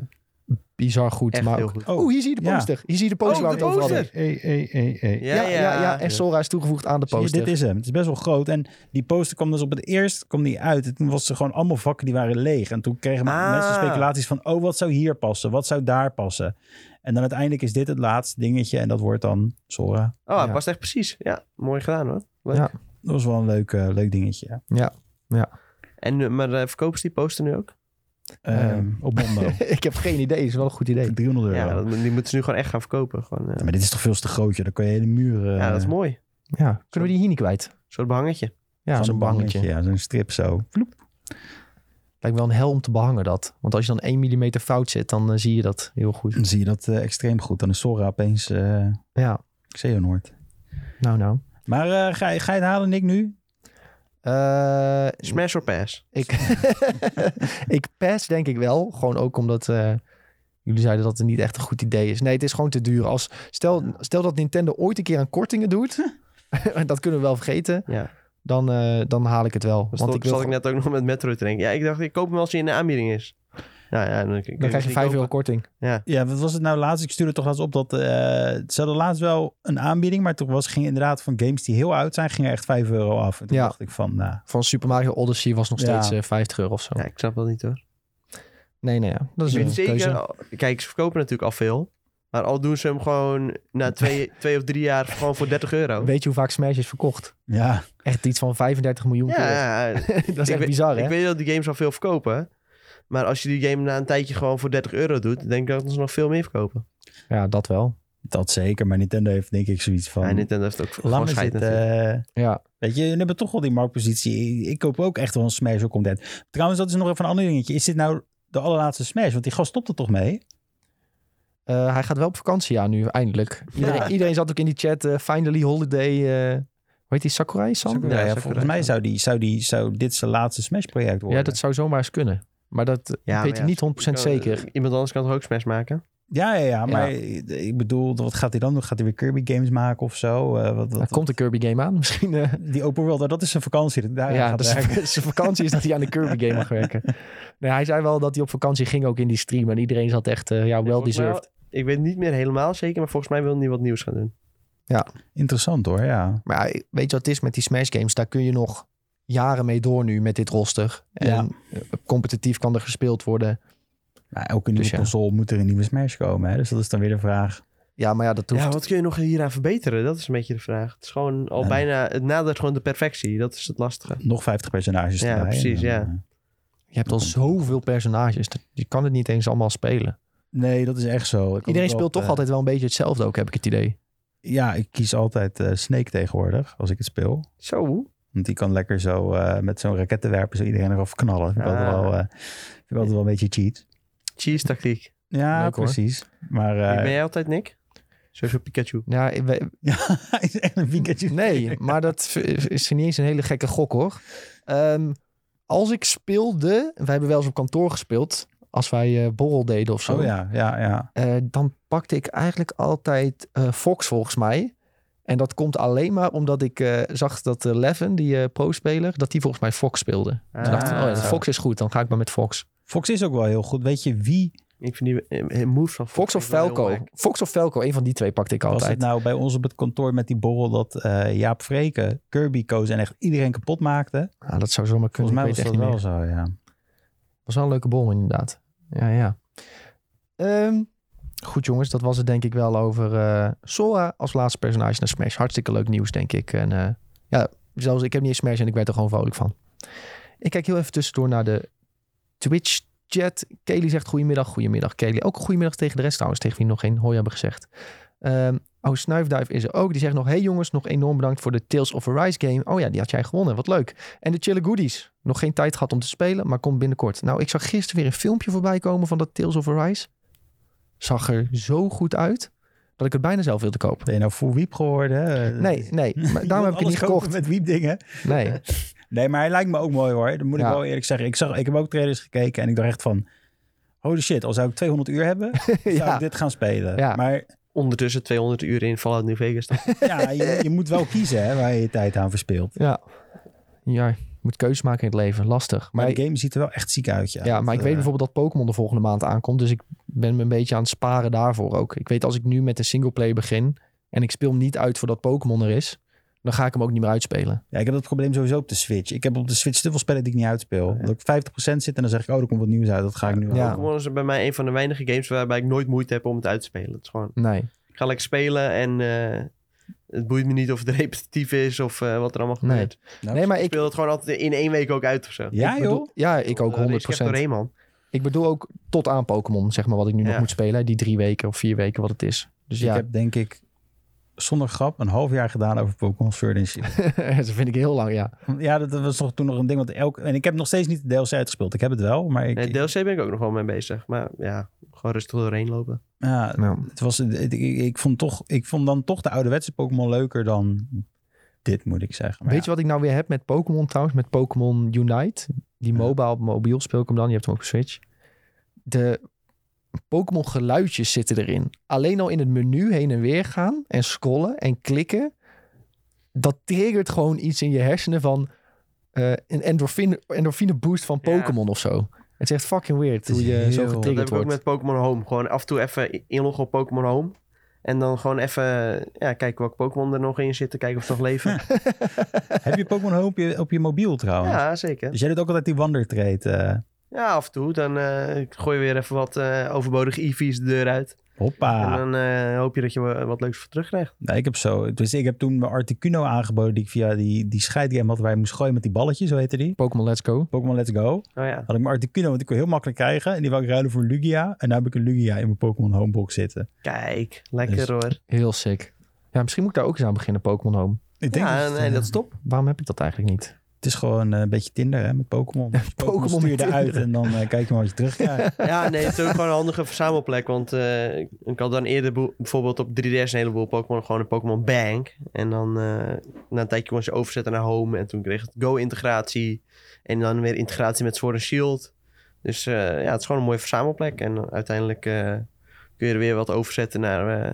bizar goed. echt maar heel ook- goed. Oh, hier zie je de Ja. poster. Hier zie je de poster Oh, waar de we het over hadden. poster. Hey, hey, hey, hey. Ja, ja, ja, En Sora is toegevoegd aan de Zie je, poster. dit is hem. Het is best wel groot. En die poster kwam dus op het eerst kwam die uit. En toen was ze gewoon allemaal vakken die waren leeg. En toen kregen Ah. mensen speculaties van... oh, wat zou hier passen? Wat zou daar passen? En dan uiteindelijk is dit het laatste dingetje. En dat wordt dan Sora. Oh, hij Ja. past echt precies. Ja, mooi gedaan hoor. Dat was wel een leuk, eh, leuk dingetje. ja. En, eh, maar eh, verkopen ze die poster nu ook? Ehm, Ehm, op *laughs* Mondo. *laughs* ik heb geen idee. is wel een goed idee. 300 euro. Ja, dat- die moeten ze nu gewoon echt gaan verkopen. Gewoon, eh. Ja, maar dit is toch veel te groot, joh. Dan kan je hele eh, muren... ja, dat is mooi. Een Ja. Kunnen we die hier niet kwijt? soort behangetje. Ja, zo'n bangetje. Ja, zo'n strip zo. Lijkt me wel een hel om te behangen dat. Want als je dan 1 mm fout zit, dan eh, zie je dat heel goed. Dan zie je dat eh, extreem goed. Dan is Sora opeens eh Ja, Xehanort. nou nou. Maar eh, ga, je- ga je het halen, Nick, nu? Eh, Smash or pass. ik, *laughs* ik pass denk ik wel. Gewoon ook omdat eh, jullie zeiden dat het niet echt een goed idee is. Nee, het is gewoon te duur. Als, stel, stel dat Nintendo ooit een keer aan kortingen doet. *laughs* dat kunnen we wel vergeten. Ja. Dan, eh, dan haal ik het wel. Dan Want stond- ik wil zat ik net ook nog met Metro te denken. Ja, ik dacht, ik koop hem als hij in de aanbieding is. Nou ja, dan, kun dan krijg je niet 5 kopen. euro korting. Ja, wat was het nou laatst? Ik stuurde toch laatst op dat... eh ze hadden laatst wel een aanbieding, maar toen was, ging inderdaad van games die heel oud zijn, ging er echt 5 euro af. En toen Ja. dacht ik van, nou... Van Super Mario Odyssey was nog Ja. steeds eh, 50 euro of zo. Ja, ik snap dat niet hoor. Nee, nee, ja. dat is Ik een weet zeker. keuze. al- Kijk, ze verkopen natuurlijk al veel. Maar al doen ze hem gewoon *laughs* na twee, twee of drie jaar gewoon voor 30 euro. Weet je hoe vaak Smash is verkocht? Ja, Echt iets van 35 miljoen keer. Ja, *laughs* ja, dat is Ik echt weet- bizar, hè? ik weet dat die games al veel verkopen. Maar als je die game na een tijdje gewoon voor 30 euro doet, denk ik dat ze nog veel meer verkopen. Ja, dat wel. dat zeker. Maar Nintendo heeft denk ik zoiets van... En Nintendo heeft ook Laat gewoon me scheid zitten. natuurlijk. Ja. Weet je, we hebben toch wel die marktpositie. Ik- Ik koop ook echt wel een Smash of content. Trouwens, dat is nog even een ander dingetje. Is dit nou de allerlaatste Smash? Want die gast stopt er toch mee? Eh, hij gaat wel op vakantie, ja, nu eindelijk. Iedereen, iedereen zat ook in die chat, eh, finally holiday. eh, hoe heet die, Sakurai San? Sakurai. ja, ja, zou volgens kunnen. mij zou, die, zou, die, zou dit zijn laatste Smash-project worden. Ja, dat zou zomaar eens kunnen. Maar dat eh, weet Ja, maar ik ja, niet 100% kan- zeker. Iemand anders kan toch ook Smash maken? Ja, ja, ja. Maar ik- ik bedoel, wat gaat hij dan doen? Gaat hij weer Kirby games maken of zo? Eh, wat, Daar wat, komt de Kirby game aan *laughs* misschien. eh. Die open world, nou, dat is zijn vakantie. Daar ja, gaat dus hij werken. *laughs* zijn vakantie is dat hij aan de Kirby game mag werken. Nee, hij zei wel dat hij op vakantie ging ook in die stream. En iedereen zat echt, eh, ja, wel Volgens mij- deserved. Ik weet niet meer helemaal zeker, maar volgens mij wil hij wat nieuws gaan doen. Interessant hoor, ja. Maar ja, weet je wat het is met die Smash games? Daar kun je nog jaren mee door nu met dit roster. En Ja. eh, competitief kan er gespeeld worden. Maar elke nieuwe Dus ja. console moet er een nieuwe Smash komen. Hè? Dus dat is dan weer de vraag. Ja, maar ja, dat hoeft... Ja, wat kun je nog hieraan verbeteren? Dat is een beetje de vraag. Het is gewoon al Eh. Ja. bijna, het nadert gewoon de perfectie. Dat is het lastige. Nog 50 personages Ja, erbij. precies, En dan, ja. eh, Je hebt al zoveel personages. dat- Je kan het niet eens allemaal spelen. Nee, dat is echt zo. Ik had Iedereen het wel, speelt toch eh, altijd wel een beetje hetzelfde ook, heb ik het idee. Ja, ik kies altijd eh, Snake tegenwoordig als ik het speel. Zo. Want die kan lekker zo eh, met zo'n rakettenwerper zo iedereen eraf knallen. Vind ik altijd Ah. wel, eh, vind ik altijd wel een beetje cheat. Cheese tactiek. Ja, Leuk, hoor. precies. Maar eh, ben jij altijd, Nick? Sowieso Pikachu. Ja, ik we- ja, *laughs* hij is echt een Pikachu. *laughs* nee, maar dat v- is niet eens een hele gekke gok hoor. Ehm, als ik speelde, wij hebben wel eens op kantoor gespeeld, als wij eh, borrel deden of zo. Oh ja, ja, ja. eh, dan pakte ik eigenlijk altijd eh, Fox volgens mij. En dat komt alleen maar omdat ik eh, zag dat eh, Levin, die eh, pro-speler, dat die volgens mij Fox speelde. Toen dacht ik, oh ja, Ah, zo. Fox is goed, dan ga ik maar met Fox. Fox is ook wel heel goed. Weet je wie Ik vind die eh, eh, moves van Fox, Fox of is wel heel Falco? wack. Fox of Falco, een van die twee pakte ik was het altijd. nou bij ons op het kantoor met die borrel dat eh, Jaap Vreken Kirby koos en echt iedereen kapot maakte? Ah, dat zou zomaar kunnen, nou- Volgens mij ik was weet het dat echt niet meer. wel zo, ja. was wel een leuke bom inderdaad. Ja, ja. Ehm, goed jongens, dat was het denk ik wel over eh, Sora als laatste personage naar Smash. Hartstikke leuk nieuws denk ik. En eh, ja, zelfs ik heb niet eens Smash en ik werd er gewoon vrolijk van. Ik kijk heel even tussendoor naar de Twitch chat. Kelly zegt goedemiddag, goedemiddag Kelly. Ook goedemiddag tegen de rest trouwens, tegen wie nog geen hoi hebben gezegd. Ehm oh, Snuifduif is er ook. Die zegt nog, hey jongens, nog enorm bedankt voor de Tales of Arise game. Oh ja, die had jij gewonnen, wat leuk. En de Chille Goodies. Nog geen tijd gehad om te spelen, maar komt binnenkort. Nou, ik zag gisteren weer een filmpje voorbij komen van dat Tales of Arise. Zag er zo goed uit dat ik het bijna zelf wilde kopen. Ben je nou full wiep geworden? hè? Nee, nee. Maar Je *laughs* daarom heb ik het wilt niet alles kopen gekocht. Met wiepdingen. Nee. Nee, maar hij lijkt me ook mooi hoor. Dat moet Ja. ik wel eerlijk zeggen. Ik, zag, ik heb ook trailers gekeken en ik dacht echt van... Holy shit, al zou ik 200 uur *laughs* hebben, zou ik ja. dit gaan spelen. Ja. Maar Ondertussen 200 uur in Fallout New Vegas. Dan. ja, je, je moet wel kiezen hè, waar je je tijd aan verspeelt. ja. Ja, je moet keuzes maken in het leven. Lastig. Maar Maar, de game ziet er wel echt ziek uit, ja. ja, maar ik Dat, weet eh, bijvoorbeeld dat Pokémon de volgende maand aankomt. Dus ik ben me een beetje aan het sparen daarvoor ook. Ik weet als ik nu met een singleplayer begin en ik speel hem niet uit voordat Pokémon er is. Dan ga ik hem ook niet meer uitspelen. Ja, ik heb dat probleem sowieso op de Switch. Ik heb op de Switch te veel spellen die ik niet uitspeel. Dat ik 50% zit en dan zeg ik, oh, er komt wat nieuws uit. Dat ga ik nu Ja. halen. Pokémon is bij mij een van de weinige games waarbij ik nooit moeite heb om het uit te spelen. Het is gewoon, Nee. ik ga lekker spelen en eh, het boeit me niet of het repetitief is of eh, wat er allemaal Nee. gebeurt. Nou, Nee, maar Ik ik. speel het gewoon altijd in één week ook uit of zo. Ja, ik joh. bedoel- ja, Eh, ik ook 100%. Ik man. Ik bedoel ook tot aan Pokémon, zeg maar, wat ik nu nog Ja. moet spelen. Die drie weken of vier weken, wat het is. Dus Dus ja, ik heb denk ik zonder grap een half jaar gedaan over Pokémon Sword and *laughs* Shield. dat vind ik heel lang, ja. ja, dat dat was nog, toen nog een ding. Want elk, en ik heb nog steeds niet de DLC uitgespeeld. Ik heb het wel, maar ik, Nee, DLC ben ik ook nog wel mee bezig. Maar ja, gewoon rustig doorheen lopen. ja, Nou, het was, ik, ik- ik, vond toch, ik vond dan toch de ouderwetse Pokémon leuker dan dit, moet ik zeggen. Maar Weet je wat ik nou weer heb met Pokémon trouwens? Met Pokémon Unite. Die Ja. mobile, mobiel speel ik hem dan. Je hebt hem ook op Switch. De Pokémon geluidjes zitten erin. Alleen al in het menu heen en weer gaan en scrollen en klikken. Dat triggert gewoon iets in je hersenen van eh, een endorfine, endorfine boost van Ja. Pokémon of zo. Het is echt fucking weird Het is hoe je zo heel- Dat heb getriggerd ik ook wordt. met Pokémon Home. Gewoon af en toe even inloggen op Pokémon Home. En dan gewoon even ja, kijken welke Pokémon er nog in zitten. Kijken of ze nog leven. ja. heb je Pokémon Home op je, op je mobiel trouwens? ja, zeker. Dus jij doet ook altijd die wandertrade. eh Ja, af en toe. Dan eh, ik gooi je weer even wat eh overbodige EV's de deur uit. En hoppa. dan eh, hoop je dat je wa- wat leuks voor terugkrijgt. Nou, ik heb zo. Dus ik heb toen mijn Articuno aangeboden die ik via die, die scheidgame had waar je moest gooien met die balletjes, zo heette die. Pokémon Let's Go. Pokémon Let's Go. Oh ja. Had ik mijn Articuno, want ik kon heel makkelijk krijgen. En die wou ik ruilen voor Lugia. En nu heb ik een Lugia in mijn Pokémon Homebox zitten. Kijk, lekker Dus- hoor. Heel sick. Ja, misschien moet ik daar ook eens aan beginnen, Pokémon Home. Ik denk Ja, dat, nee, eh, dat is top. Waarom heb ik dat eigenlijk niet? Het is gewoon eh, een beetje Tinder hè, met *laughs* Pokémon. Dus Pokémon Pokémon stuur je met eruit Tinder. en dan eh, kijk je maar wat je terugkrijgt. Ja, nee, het is ook gewoon een handige verzamelplek. Want eh, ik had dan eerder boe- bijvoorbeeld op 3DS een heleboel Pokémon. Gewoon een Pokémon Bank. En dan eh, na een tijdje kon ze overzetten naar Home. En toen kreeg het Go-integratie. En dan weer integratie met Sword and Shield. Dus eh, ja, het is gewoon een mooie verzamelplek. En uiteindelijk eh, kun je er weer wat overzetten naar eh,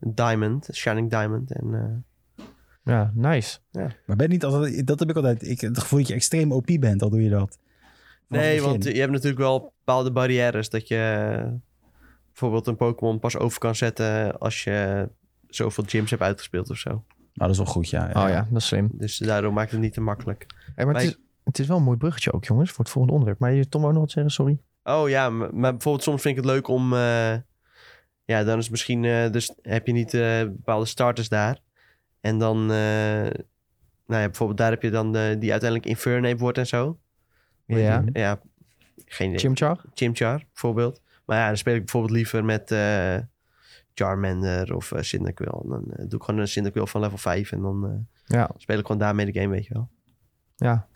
Diamond, Shining Diamond. En, eh, Ja, nice. Maar ben niet altijd, dat heb ik altijd, ik, het gevoel dat je extreem OP bent, al doe je dat. Vanaf nee, het want begin. je hebt natuurlijk wel bepaalde barrières dat je eh, bijvoorbeeld een Pokémon pas over kan zetten als je zoveel gyms hebt uitgespeeld of zo. Nou, dat is wel goed, ja. Oh ja, dat is slim. Dus daardoom maakt het niet te makkelijk. Hey, maar het, Maar is, het is wel een mooi bruggetje ook, jongens, voor het volgende onderwerp. Maar je Tom wou nog wat zeggen, sorry. Oh ja, m- maar bijvoorbeeld soms vind ik het leuk om... eh, ja, dan is misschien... eh, dus heb je niet eh, bepaalde starters daar. En dan... eh, nou ja, bijvoorbeeld daar heb je dan de, die uiteindelijk Infernape wordt en zo. Ja. Ja, geen idee. Chimchar? Chimchar bijvoorbeeld. Maar ja, dan speel ik bijvoorbeeld liever met eh, Charmander of eh, Cyndaquil. En dan eh, doe ik gewoon een Cyndaquil van level 5 en dan eh, Ja. speel ik gewoon daarmee de game, weet je wel. Ja.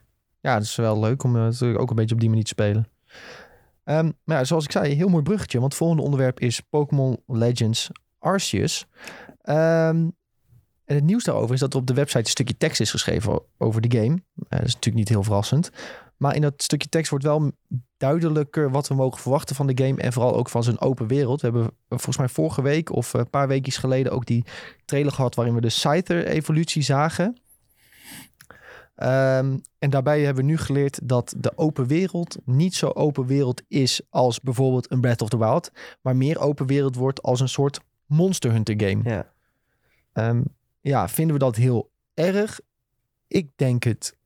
Ja, dat is wel leuk om eh, natuurlijk ook een beetje op die manier te spelen. Ehm, maar ja, zoals ik zei, heel mooi bruggetje. Want het volgende onderwerp is Pokémon Legends Arceus. Ehm, en het nieuws daarover is dat er op de website een stukje tekst is geschreven o- over de game. Eh, dat is natuurlijk niet heel verrassend. Maar in dat stukje tekst wordt wel duidelijker wat we mogen verwachten van de game. En vooral ook van zijn open wereld. We hebben eh, volgens mij vorige week of eh, een paar weekjes geleden ook die trailer gehad... waarin we de Scyther-evolutie zagen. Ehm, en daarbij hebben we nu geleerd dat de open wereld niet zo open wereld is als bijvoorbeeld een Breath of the Wild, maar meer open wereld wordt als een soort Monster Hunter game. Ja. Ehm, ja, vinden we dat heel erg? Ik denk het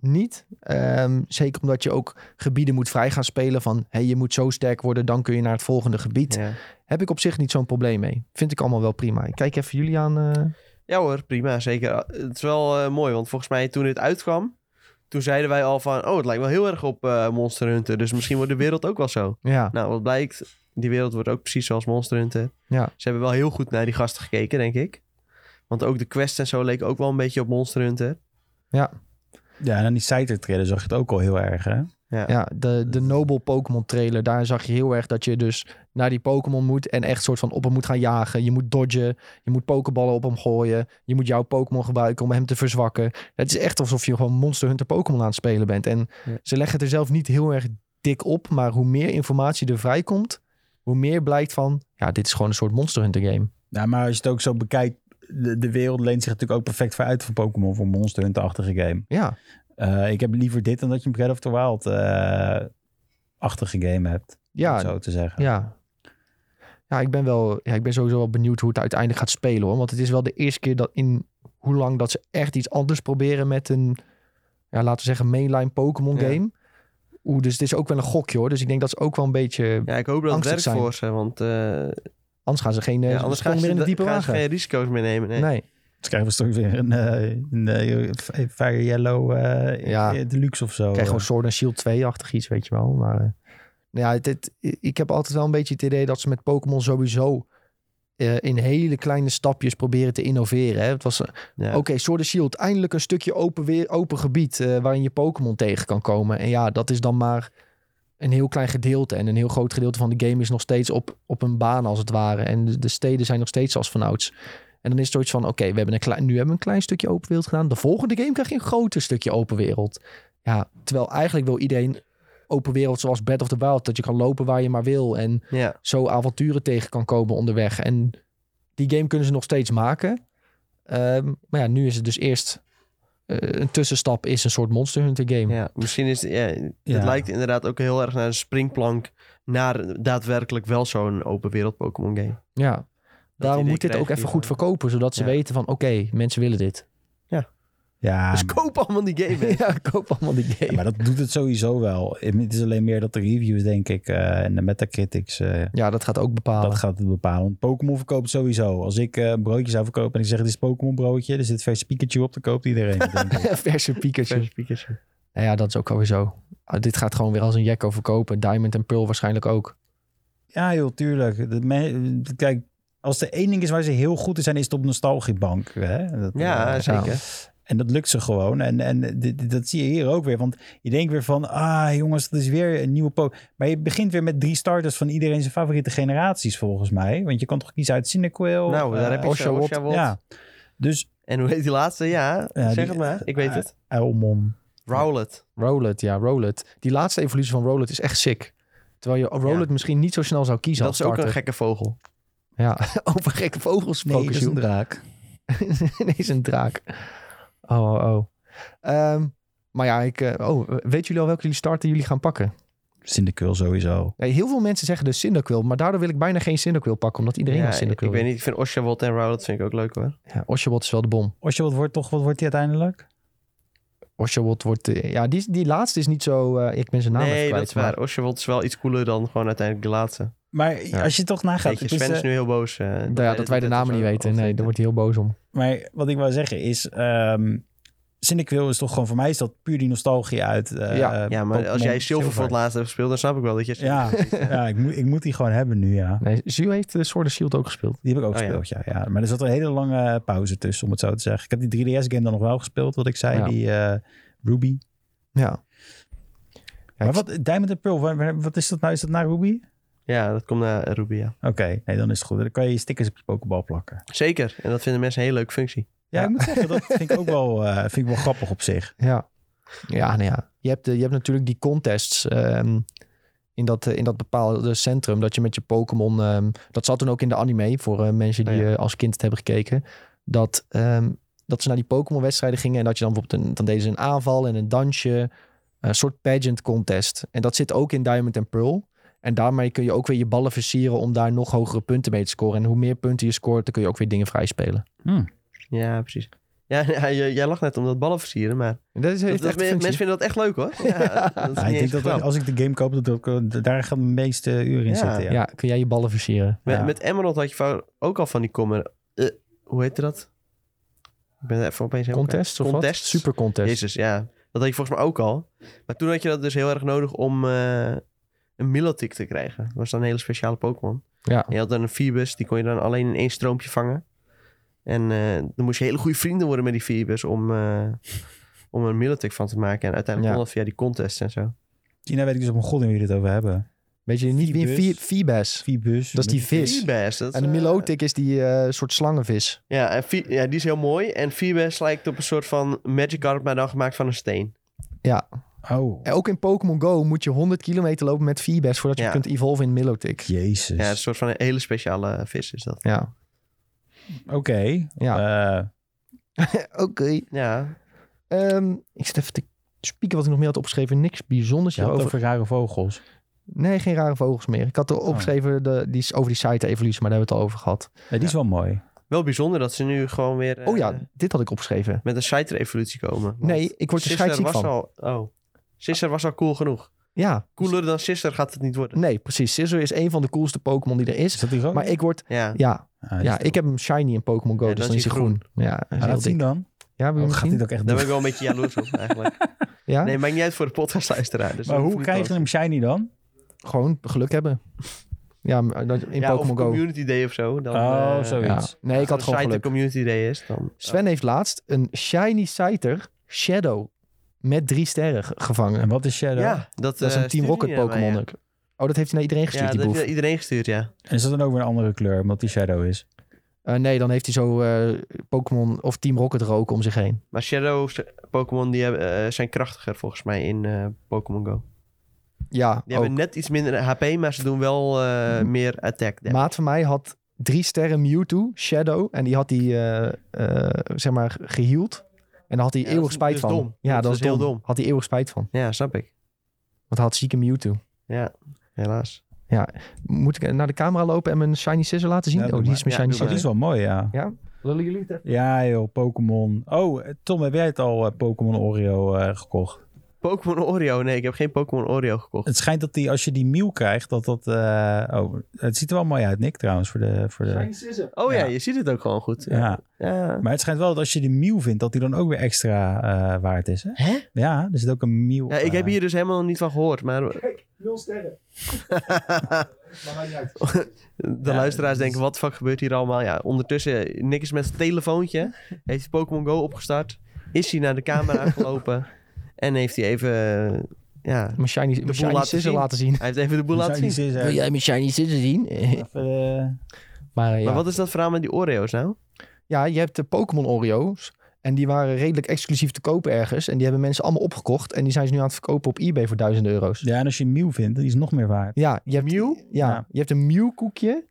niet. Ehm, zeker omdat je ook gebieden moet vrij gaan spelen van hey, je moet zo sterk worden, dan kun je naar het volgende gebied. Ja. Heb ik op zich niet zo'n probleem mee. Vind ik allemaal wel prima. Ik kijk even jullie aan. eh, Ja hoor, prima, zeker. Het is wel eh, mooi, want volgens mij toen dit uitkwam, toen zeiden wij al van, oh, het lijkt wel heel erg op eh, Monster Hunter, dus misschien wordt de wereld ook wel zo. ja, Nou, wat blijkt, die wereld wordt ook precies zoals Monster Hunter. Ja. Ze hebben wel heel goed naar die gasten gekeken, denk ik. Want ook de quests en zo leken ook wel een beetje op Monster Hunter. Ja, en aan die Scyther-trailer zag je het ook al heel erg, hè? Ja, de, de Noble Pokémon trailer. Daar zag je heel erg dat je dus naar die Pokémon moet. En echt soort van op hem moet gaan jagen. Je moet dodgen. Je moet pokeballen op hem gooien. Je moet jouw Pokémon gebruiken om hem te verzwakken. Het is echt alsof je gewoon Monster Hunter Pokémon aan het spelen bent. En Ja. ze leggen het er zelf niet heel erg dik op. Maar hoe meer informatie er vrijkomt, hoe meer blijkt van... Ja, dit is gewoon een soort Monster Hunter game. Ja, maar als je het ook zo bekijkt, de, de wereld leent zich natuurlijk ook perfect voor uit voor Pokémon, voor Monster Hunter-achtige game. Ja, Eh, ik heb liever dit dan dat je een Breath of the Wild-achtige game hebt, om ja, het zo te zeggen. Ja. Ja, ik ben wel, ja, ik ben sowieso wel benieuwd hoe het uiteindelijk gaat spelen hoor. Want het is wel de eerste keer dat in hoe lang dat ze echt iets anders proberen met een, ja, laten we zeggen, mainline Pokémon Ja. game. Oeh, dus het is ook wel een gokje hoor. Dus ik denk dat ze ook wel een beetje. Ja, ik hoop dat het Angstig werkt zijn. voor ze, want eh, Anders gaan ze geen. eh, Ja, anders sprong gaan meer ze, in de da- diepe gaan ze wagen. geen risico's meer nemen. Nee. nee. Dus krijgen we straks weer een, eh, een, eh, f- Fire Yellow eh, Ja. eh, Deluxe of zo. krijg gewoon Sword and Shield 2-achtig iets, weet je wel. Maar eh, nou ja, het, het- ik heb altijd wel een beetje het idee dat ze met Pokémon sowieso eh, in hele kleine stapjes proberen te innoveren. Hè. Het was eh, Ja. Oké, Sword and Shield, eindelijk een stukje open, weer, open gebied eh, waarin je Pokémon tegen kan komen. En ja, dat is dan maar een heel klein gedeelte. En een heel groot gedeelte van de game is nog steeds op, op een baan als het ware. En de, de steden zijn nog steeds als vanouds. En dan is het zoiets van, oké, we hebben een klein, nu hebben we een klein stukje open wereld gedaan. De volgende game krijg je een groter stukje open wereld. Ja, terwijl eigenlijk wil iedereen open wereld zoals Breath of the Wild. Dat je kan lopen waar je maar wil. En Ja. zo avonturen tegen kan komen onderweg. En die game kunnen ze nog steeds maken. Ehm, maar ja, nu is het dus eerst eh, een tussenstap is een soort Monster Hunter game. ja, misschien is ja, het Ja. lijkt inderdaad ook heel erg naar een springplank naar daadwerkelijk wel zo'n open wereld *laughs* Pokémon game. Ja. Daarom idee moet dit kreeg ook ik even hiervan. goed verkopen, zodat ze Ja. weten van oké, mensen willen dit. Eh, Ja, *laughs* dus koop allemaal die game. hè. *laughs* ja, koop allemaal die game. Ja, Ja, maar dat doet het sowieso wel. Het is alleen meer dat de reviews, denk ik, eh, en de metacritics, eh, dat gaat ook bepalen. dat gaat het bepalen. Want Pokémon verkoopt sowieso. Als ik eh, een broodje zou verkopen en ik zeg, dit is Pokémon broodje, er zit vers Pikachu op, dan koopt iedereen. het, denk ik. *laughs* Verse Pikachu. Verse Pikachu. Nou ja, dat is ook alweer zo. Ah, dit gaat gewoon weer als een jekko verkopen. Diamond en Pearl waarschijnlijk ook. Ja, joh, tuurlijk. De me- kijk, als er één ding is waar ze heel goed in zijn, is het op nostalgiebank. Hè? Dat, Ja, eh, zeker. En dat lukt ze gewoon. En, en dit- dit- dat zie je hier ook weer. Want je denkt weer van, ah jongens, dat is weer een nieuwe po. Maar je begint weer met drie starters van iedereen zijn favoriete generaties volgens mij. Want je kan toch kiezen uit Cinequil. nou, daar eh, heb je Oshawott. Oshawott. Ja. Dus En hoe heet die laatste? Ja, Ja, zeg die- het maar. Ik weet eh, het. Elmon. Rowlet. Rowlet, ja, Rowlet. Die laatste evolutie van Rowlet is echt sick. Terwijl je Rowlet misschien niet zo snel zou kiezen dat als is ook starter. een gekke vogel. Ja, *laughs* over gekke vogels gesproken, Nee, dat is een Sjoerd. draak. nee, is een draak. *laughs* Oh, oh, oh. Ehm, maar ja, ik, eh, oh, weten jullie al welke jullie starten jullie gaan pakken? Cyndaquil sowieso. Ja, heel veel mensen zeggen dus Cyndaquil, maar daardoor wil ik bijna geen Cyndaquil pakken, omdat iedereen ja, al ik, Cyndaquil weet wil. niet, ik vind Oshawott en Rowlet vind ik ook leuk hoor. Ja, Oshawott is wel de bom. Osje, wat wordt toch, wat wordt die uiteindelijk? Oshawott wordt... eh, ja, die, die laatste is niet zo... eh, ik ben zijn naam even nee, kwijt. dat is waar. maar- Oshawott is wel iets cooler dan gewoon uiteindelijk de laatste. Maar Ja. als je toch nagaat, Weet je, het is, Sven eh, is nu heel boos. eh, Nou ja, dat wij de dit namen of niet zo weten. Nee, opgeten. daar wordt hij heel boos om. Maar wat ik wou zeggen is, ehm Cyndaquil is toch gewoon voor mij is dat puur die nostalgie uit. eh, Ja. eh, Ja, maar als Pokémon jij zilver voor het laatst hebt gespeeld, dan snap ik wel dat je... Ja, ja ik, moet, ik moet die gewoon hebben nu, ja. Nee, Zu heeft de Sword and Shield ook gespeeld. Die heb ik ook Oh, ja. gespeeld, ja. ja. Maar er zat een hele lange pauze tussen, om het zo te zeggen. Ik heb die 3DS-game dan nog wel gespeeld, wat ik zei, Ja. die eh, Ruby. Ja. Ja, maar ik- wat, Diamond and Pearl, waar- waar- wat is dat nou? Is dat na Ruby? Ja, dat komt naar Ruby, ja. Oké, nee, dan is het goed. Dan kan je je stickers op je Pokéball plakken. Zeker. En dat vinden mensen een hele leuke functie. Ja, Ja. ik moet zeggen, dat vind ik ook wel, eh, vind ik wel grappig op zich. Ja, ja, nou ja. Je, hebt, eh, je hebt natuurlijk die contests ehm, in, dat, eh, in dat bepaalde centrum. Dat je met je Pokémon. ehm, dat zat toen ook in de anime voor eh, mensen die Oh ja. eh, als kind het hebben gekeken. Dat, ehm, dat ze naar die Pokémon-wedstrijden gingen. En dat je dan bijvoorbeeld. Een, dan deden ze een aanval en een dansje. Een soort pageant contest. En dat zit ook in Diamond and Pearl. En daarmee kun je ook weer je ballen versieren om daar nog hogere punten mee te scoren. En hoe meer punten je scoort, dan kun je ook weer dingen vrijspelen. Ja, precies. Ja, *laughs* ja, j- jij lacht net om dat ballen versieren, maar Dat is, dat, dat- men- mensen vinden dat echt leuk hoor. Ja, *laughs* dat is Ja, niet ik eens denk dat grap. als ik de game koop, dat ik, eh, daar gaan de meeste uren in Ja. zitten. ja. kun jij je ballen versieren? Met, ja. met Emerald had je vou- ook al van die kommer. eh, hoe heette dat? Ik ben er even opeens helemaal Contest of kwijt. wat? Contests. Super contest. Jezus, ja. Dat had je volgens mij ook al. Maar toen had je dat dus heel erg nodig om eh, een Milotic te krijgen. Dat was dan een hele speciale Pokémon. Ja. En je had dan een Phoebus, die kon je dan alleen in één stroompje vangen. En eh, dan moest je hele goede vrienden worden met die Phoebus om, eh, om er een Milotic van te maken. En uiteindelijk Ja. kon dat via die contests en zo. China weet ik dus op mijn god in wie we dit over hebben. Weet je niet wie Phoebus. Phoe- Phoebus? Phoebus. Dat is die vis. Phoebus, dat is, En de dus. eh, Milotic is die eh, soort slangenvis. Ja, en Phi- ja, die is heel mooi. En Phoebus lijkt op een soort van Magikarp, maar dan gemaakt van een steen. Oh, En ook in Pokémon Go moet je 100 kilometer lopen met Phoebus voordat je Ja. kunt evolven in Milotic. Ja. jezus. Ja, een soort van een hele speciale vis is dat. Ja. Oké. Eh, Oké. Ja, Ehm, ik zit even te spieken wat ik nog meer had opgeschreven. Niks bijzonders je had het hierover. over rare vogels. Nee, geen rare vogels meer. Ik had Oh. er opgeschreven de, die, is over die site-evolutie, maar daar hebben we het al over gehad. Ja, die is wel mooi. wel bijzonder dat ze nu gewoon weer eh, Oh ja, dit had ik opgeschreven. met een scheiter-evolutie komen. Want Nee, ik word er Sisser scheidsziek was van. al. Oh. Sisser was al cool genoeg. Ja, Cooler dan Sisser gaat het niet worden. nee, precies. Scissor is een van de coolste Pokémon die er Is is. dat die Oh. rood? Maar ik word... Ja. Ja, Ah, die is ja rood. ik heb hem shiny in Pokémon Go, Ja, dus dan is hij groen. Ja, hij is Ah, heel laat zien dik. dan. Ja, wil je Oh, hem gaat zien? dit ook Daar echt doen? ben ik wel een beetje jaloers op eigenlijk. Ja? Nee, maakt niet uit voor de podcastluisteraar. Dus Maar dat hoe hoeft krijgen niet we wel. hem shiny dan? Gewoon geluk hebben. *laughs* Ja, maar dat- in ja, Pokémon of Go. Community Day of zo. Dan, Oh, eh, zoiets. Ja. Nee, ik had als gewoon site de geluk. Community Day is, dan... Sven heeft laatst een shiny Scyther Shadow met drie sterren ge- En gevangen. wat is Shadow? Ja, dat, Dat is eh, een Team stuurde Rocket hij aan mij, Pokémon. ja. ook. Oh, dat heeft hij naar iedereen Ja, gestuurd, dat die heeft boef. hij iedereen gestuurd, ja. En is dat dan ook weer een andere kleur, omdat die Shadow is? Eh, nee, dan heeft hij zo eh, Pokémon of Team Rocket roken om zich heen. Maar Shadow Pokémon die hebben, eh, zijn krachtiger volgens mij in eh, Pokémon Go. Ja, Die ook. Mhm. hebben net iets minder HP, maar ze doen wel eh, meer attack. damage. Maat van mij had drie sterren Mewtwo, Shadow. En die had hij, eh, eh, zeg maar, geheeld. En daar had hij Ja, dat eeuwig is- spijt dat is van. dom. Ja, Dat dat, is is heel dom. dom. Had hij eeuwig spijt van. Ja, snap ik. Want hij had zieke Mewtwo. Ja, helaas. Moet ik naar de camera lopen en mijn Shiny Scissor laten zien? Ja, doe oh, die is mijn maar. Ja, Shiny doe Oh, die Scissor. is wel mooi, ja. Lullen jullie het even? Ja joh, Pokémon. Oh, eh, Tom, heb jij het al eh, Pokémon Oreo eh, gekocht? Pokémon Oreo. Nee, ik heb geen Pokémon Oreo gekocht. Het schijnt dat die, als je die Mew krijgt, dat dat... eh, oh, het ziet er wel mooi uit, Nick, trouwens, voor de... Voor de Scissor. Oh ja, Ja. je ziet het ook gewoon goed. ja. Ja. Maar het schijnt wel dat als je die Mew vindt, dat die dan ook weer extra eh, waard is, hè? Hè? Ja, er zit ook een Mew... Ja, ik heb eh, hier dus helemaal niet van gehoord, maar Kijk, nul sterren. de Ja, luisteraars dat denken, wat de fuck gebeurt hier allemaal? Ja, ondertussen, Nick is met zijn telefoontje, heeft hij Pokémon Go opgestart, is hij naar de camera gelopen en heeft hij even, eh, ja, Mijn Shiny, mijn boel shiny laten Scissor zien. laten zien. hij heeft even de boel Mew laten zou zien. ik niet zeggen. jij mijn Shiny Scissor zien? *laughs* Even, eh, maar eh, ja. Maar wat is dat verhaal met die Oreo's nou? ja, je hebt de Pokémon Oreo's. En die waren redelijk exclusief te koop ergens. En die hebben mensen allemaal opgekocht. En die zijn ze nu aan het verkopen op eBay voor duizenden euro's. Ja, en als je Mew vindt, die is nog meer waard. Ja, je hebt, Mew? Ja, Ja. je hebt een Mew koekje.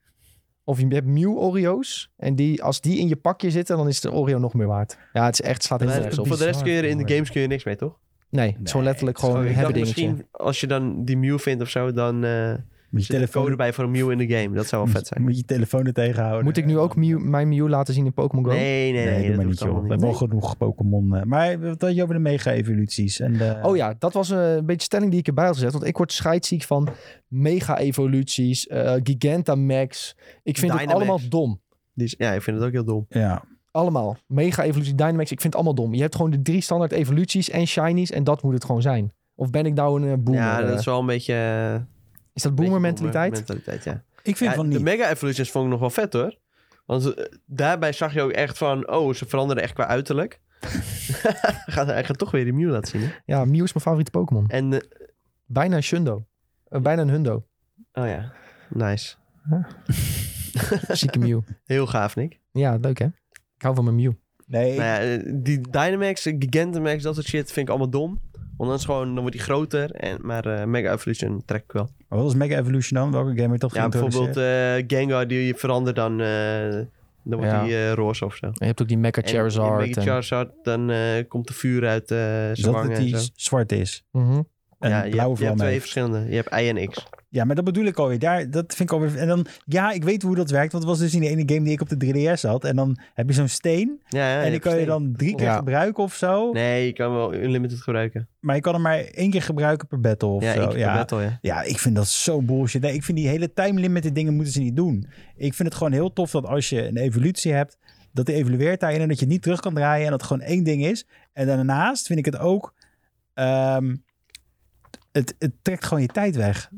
Of je hebt Mew Oreo's. En die, als die in je pakje zitten, dan is de Oreo nog meer waard. Ja, het is echt, slaat helemaal Maar nergens voor op. de rest bizar kun je er in voor de games woorden. kun je niks mee, toch? Nee, het is gewoon Nee, letterlijk het is gewoon ik een dacht hebben dingetje. misschien als je dan die Mew vindt of zo, dan eh Moet je zit er telefoon, code bij voor een Mew in de game. Dat zou wel vet zijn. moet je telefoon er tegenhouden. Moet ik nu ook Mew, mijn Mew laten zien in Pokémon Go? Nee, nee, nee. Nee, doe dat maar hoeft niet, joh. We allemaal hebben al genoeg Pokémon. eh, Maar wat had je over de mega-evoluties? En, eh, Oh ja, dat was eh, een beetje stelling die ik erbij had gezet. Want ik word scheidsziek van mega-evoluties, eh, Gigantamax. Ik vind het Dynamax. allemaal dom. Die is- ja, ik vind het ook heel dom. Ja, Allemaal. Mega-evolutie, Dynamax, ik vind het allemaal dom. Je hebt gewoon de drie standaard evoluties en shinies en dat moet het gewoon zijn. Of ben ik nou een eh, boomer? Ja, eh? dat is wel een beetje... eh, Is dat beetje boomer mentaliteit? mentaliteit, ja. ik vind Ja, van de niet. Mega Evolutions vond ik nog wel vet hoor. Want eh, daarbij zag je ook echt van, oh, ze veranderen echt qua *laughs* uiterlijk. *laughs* gaat, hij gaat toch weer die Mew laten zien. hè? Ja, Mew is mijn favoriete Pokémon. En, eh, Bijna een Shundo. Eh, bijna een *laughs* Hundo. oh ja, nice. Zieke Mew. Heel gaaf, Nick. Ja, leuk hè? Ik hou van mijn Mew. Nee, Nou ja, eh, die Dynamax, eh, Gigantamax, dat soort shit vind ik allemaal dom. Want dan is gewoon, dan wordt die groter. En, maar eh, Mega Evolution trek ik wel. maar wat was Mega Evolution dan? Welke game werd toch Ja, bijvoorbeeld geïntroduceerd? eh, Gengar, die verandert dan... eh, dan wordt Ja. die eh, roze of zo. En je hebt ook die Mecha En Charizard. Mega en- Charizard, dan eh, komt de vuur uit eh zijn Is dat wangen het en die zo. z- zwart is. Mhm. En ja, ja, je blauw hebt, je vooral hebt twee mee. verschillende. Je hebt I en X. Ja, maar dat bedoel ik alweer. Daar, dat vind ik alweer... En dan, ja, ik weet hoe dat werkt. Want het was dus in de ene game die ik op de 3DS had. En dan heb je zo'n steen. Ja, ja, en die hebt kan je steen. dan drie keer Ja. gebruiken of zo. Nee, je kan wel unlimited gebruiken. Maar je kan hem maar één keer gebruiken per battle of ja, zo. één keer per ja. battle, ja. Ja, ik vind dat zo bullshit. Nee, ik vind die hele time limited dingen moeten ze niet doen. Ik vind het gewoon heel tof dat als je een evolutie hebt, dat die evolueert daarin en dat je het niet terug kan draaien en dat het gewoon één ding is. En daarnaast vind ik het ook, ehm, het, het trekt gewoon je tijd weg.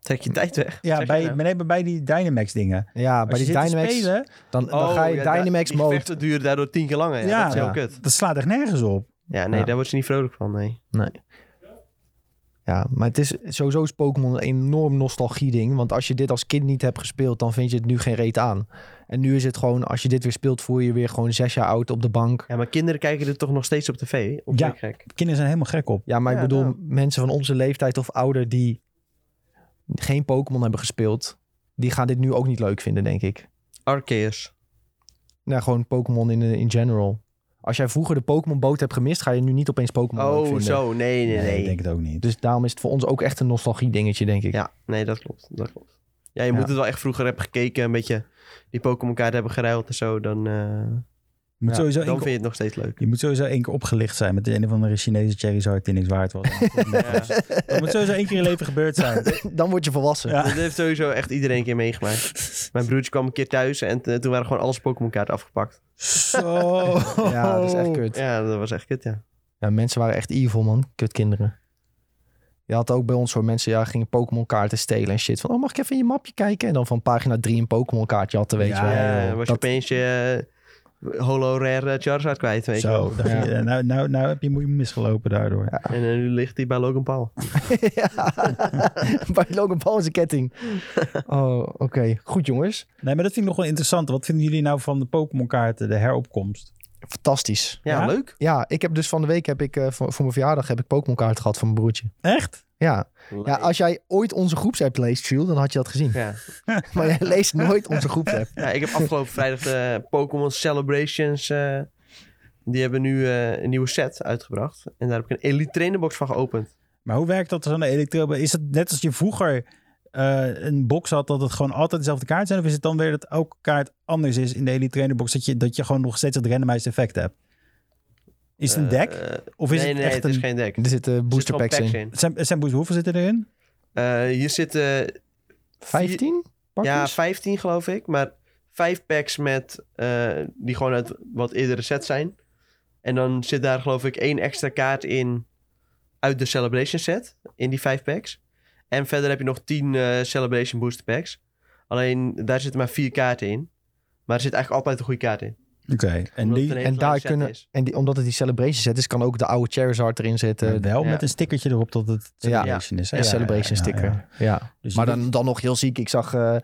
Trek je tijd weg. Ja, Zeg bij, je nou? nee, maar bij die Dynamax dingen. Ja, bij Als die je zit te Dynamax. spelen, Dan, dan Oh, ga je ja, da- Dynamax die mode. gevechten duren daardoor tien keer langer. Ja, Ja. dat is heel Ja. kut. dat slaat echt nergens op. Ja, nee, Ja. daar word je niet vrolijk van, nee. Ja, maar het is sowieso is Pokémon een enorm nostalgie-ding. Want als je dit als kind niet hebt gespeeld, dan vind je het nu geen reet aan. En nu is het gewoon, als je dit weer speelt, voel je je weer gewoon zes jaar oud op de bank. Ja, maar kinderen kijken er toch nog steeds op tv? hè? Of Ja. ben ik gek? Kinderen zijn helemaal gek op. Ja, maar ik Ja, nou. bedoel, daarom. mensen van onze leeftijd of ouder die geen Pokémon hebben gespeeld, die gaan dit nu ook niet leuk vinden, denk ik. Arceus. Nou, gewoon Pokémon in, in general. Als jij vroeger de Pokémon-boot hebt gemist, ga je nu niet opeens Pokémon leuk Oh, vinden. zo. Nee, nee, nee. ik denk het ook niet. Dus daarom is het voor ons ook echt een nostalgie-dingetje, denk ik. Ja, nee, dat klopt. Dat klopt. Ja, je Ja. moet het wel echt vroeger hebben gekeken. Een beetje die Pokémon kaart hebben geruild en zo. Dan, eh, Je moet, Ja, sowieso dan één vind je keer, het nog steeds leuk. je moet sowieso één keer opgelicht zijn met de een of andere Chinese Charizard die niks waard was. Dat moet sowieso één keer in je leven gebeurd zijn. *laughs* Dan word je volwassen. *laughs* Ja. Dat heeft sowieso echt iedereen een keer meegemaakt. Mijn broertje kwam een keer thuis en eh, toen waren gewoon alles Pokémon kaarten afgepakt. Zo. *laughs* ja, dat is echt kut. Ja, dat was echt kut, ja. Ja, mensen waren echt evil, man. Kutkinderen. Je had ook bij ons zo mensen, ja, gingen Pokémon kaarten stelen en shit. Van, oh, mag ik even in je mapje kijken? En dan van pagina 3 een Pokémon kaartje had, weet je Ja, wel. Ja, joh, dan was dat- je opeens je eh, holo rare eh, Charizard kwijt, weet je. Zo, dacht Ja. je, nou, nou, nou heb je moeite misgelopen daardoor. Ja, En eh, nu ligt die bij Logan Paul. Ja. *laughs* bij Logan Paul is een ketting. Oh, oké. Goed, jongens. Nee, maar dat vind ik nog wel interessant. Wat vinden jullie nou van de Pokémon-kaarten, de heropkomst? Fantastisch. Ja, Ja? leuk. Ja, ik heb dus van de week, heb ik, eh, voor, voor mijn verjaardag, heb ik Pokémon kaarten gehad van mijn broertje. Echt? Ja. ja, als jij ooit onze groepsapp leest, Jules, dan had je dat *laughs* gezien. Ja. Maar jij leest nooit onze groepsapp. Ja, ik heb *laughs* afgelopen vrijdag de Pokémon Celebrations. eh, die hebben nu eh, een nieuwe set uitgebracht. En daar heb ik een Elite Trainerbox van geopend. Maar hoe werkt dat zo'n elektro? Is het net als je vroeger eh, een box had, dat het gewoon altijd dezelfde kaart zijn? Of is het dan weer dat elke kaart anders is in de Elite Trainer Box, dat je, dat je gewoon nog steeds dat randomized effect hebt? Is het een Eh, deck? eh, Of is nee, het nee, echt het een... is geen deck. Er zitten booster packs in. Zijn, zijn boos- hoeveel zitten erin? Eh, hier zitten 15? ja, pakjes? 15 geloof ik. Maar vijf packs met, eh, die gewoon uit wat eerdere sets zijn. En dan zit daar geloof ik één extra kaart in uit de Celebration set. In die vijf packs. En verder heb je nog 10 eh, Celebration Booster packs. Alleen daar zitten maar vier kaarten in. Maar er zit eigenlijk altijd een goede kaart in. Oké. En Omdat het die, een hele en kleine daar set kunnen- is. En die, omdat het die celebration set is, kan ook de oude Charizard erin zitten. maar wel ja. met een stickertje erop dat het Celebration is. hè? Een Ja, ja, celebration ja, ja. sticker. Ja. Dus je Maar doet- dan, dan nog heel ziek. Ik zag eh,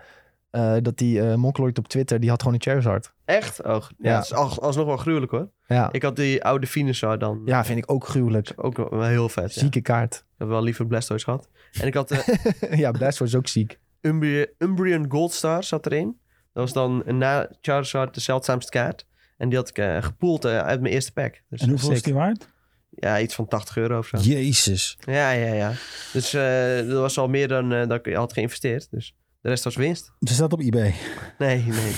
eh, dat die eh Monkeloid op Twitter, die had gewoon een Charizard. Echt? Oh, ja. Ja. Het is als, alsnog wel gruwelijk hoor. Ja. Ik had die oude Venusaur dan. ja, vind ik ook gruwelijk. Ook wel wel heel vet. Ja. Ik Zieke kaart. heb wel liever Blastoise gehad. En ik had eh, de *laughs* ja, Blastoise is ook ziek. Umbri Umbrian Goldstar zat erin. Dat was dan een na Charizard de zeldzaamste kaart. En die had ik eh, gepoeld eh, uit mijn eerste pack. Dus En hoeveel sick. is die waard? Ja, iets van 80 euro of zo. Jezus. Ja, ja, ja. Dus eh dat was al meer dan eh, dat ik had geïnvesteerd. Dus de rest was winst. Ze Dus staat op eBay. Nee, nee.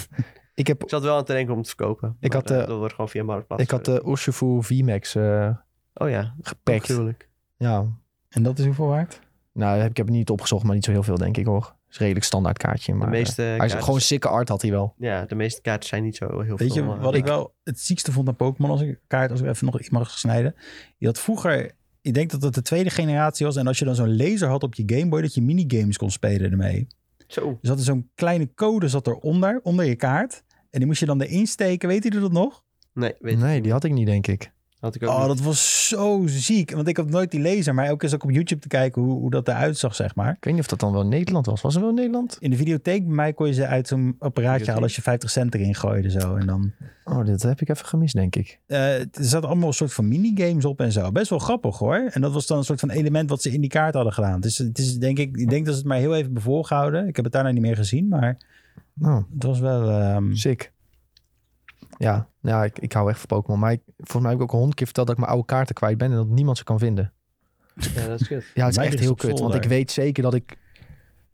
Ik, heb, Ik zat wel aan het denken om het te verkopen. Ik maar, had, eh, eh, dat wordt gewoon via Marktplaats. eh. ik had de Urshifu VMAX eh oh ja, gepakt. natuurlijk. Ja. En dat is hoeveel waard? Nou, heb, ik heb het niet opgezocht, maar niet zo heel veel, denk ik hoor. Het is een redelijk standaard kaartje. De Maar, eh, meeste, hij is, kaarten, gewoon sikke art had hij wel. ja, de meeste kaarten zijn niet zo heel Weet veel. eh. je maar- wat ik wel het ziekste vond aan Pokémon als ik kaart, als ik even nog iets mag snijden? Je had vroeger, ik denk dat dat de tweede generatie was. En als je dan zo'n laser had op je Game Boy, dat je minigames kon spelen ermee. Zo. Dus dat is zo'n kleine code zat eronder, onder je kaart. En die moest je dan erin steken. Weet jullie dat nog? Nee, weet nee, die had ik niet, denk ik. had ik ook Oh, niet. dat was zo ziek. Want ik had nooit die laser, maar elke keer zat ik op YouTube te kijken hoe, hoe dat eruit zag, zeg maar. Ik weet niet of dat dan wel in Nederland was. Was er wel in Nederland? In de videotheek bij mij kon je ze uit zo'n apparaatje halen als je 50 cent erin gooide zo. En dan, Oh, dit heb ik even gemist, denk ik. eh, er zaten allemaal een soort van minigames op en zo. Best wel grappig hoor. En dat was dan een soort van element wat ze in die kaart hadden gedaan. Dus het is denk ik, ik denk dat ze het maar heel even bevolgehouden. Ik heb het daarna niet meer gezien, maar Nou, het was wel... ehm, sick. Ja, ja ik, ik hou echt van Pokémon. Maar ik, volgens mij heb ik ook een honderd keer verteld dat ik mijn oude kaarten kwijt ben en dat niemand ze kan vinden. Ja, dat is kut. *laughs* Ja, het is Mij echt ligt heel op kut. Want zolder. ik weet zeker dat ik,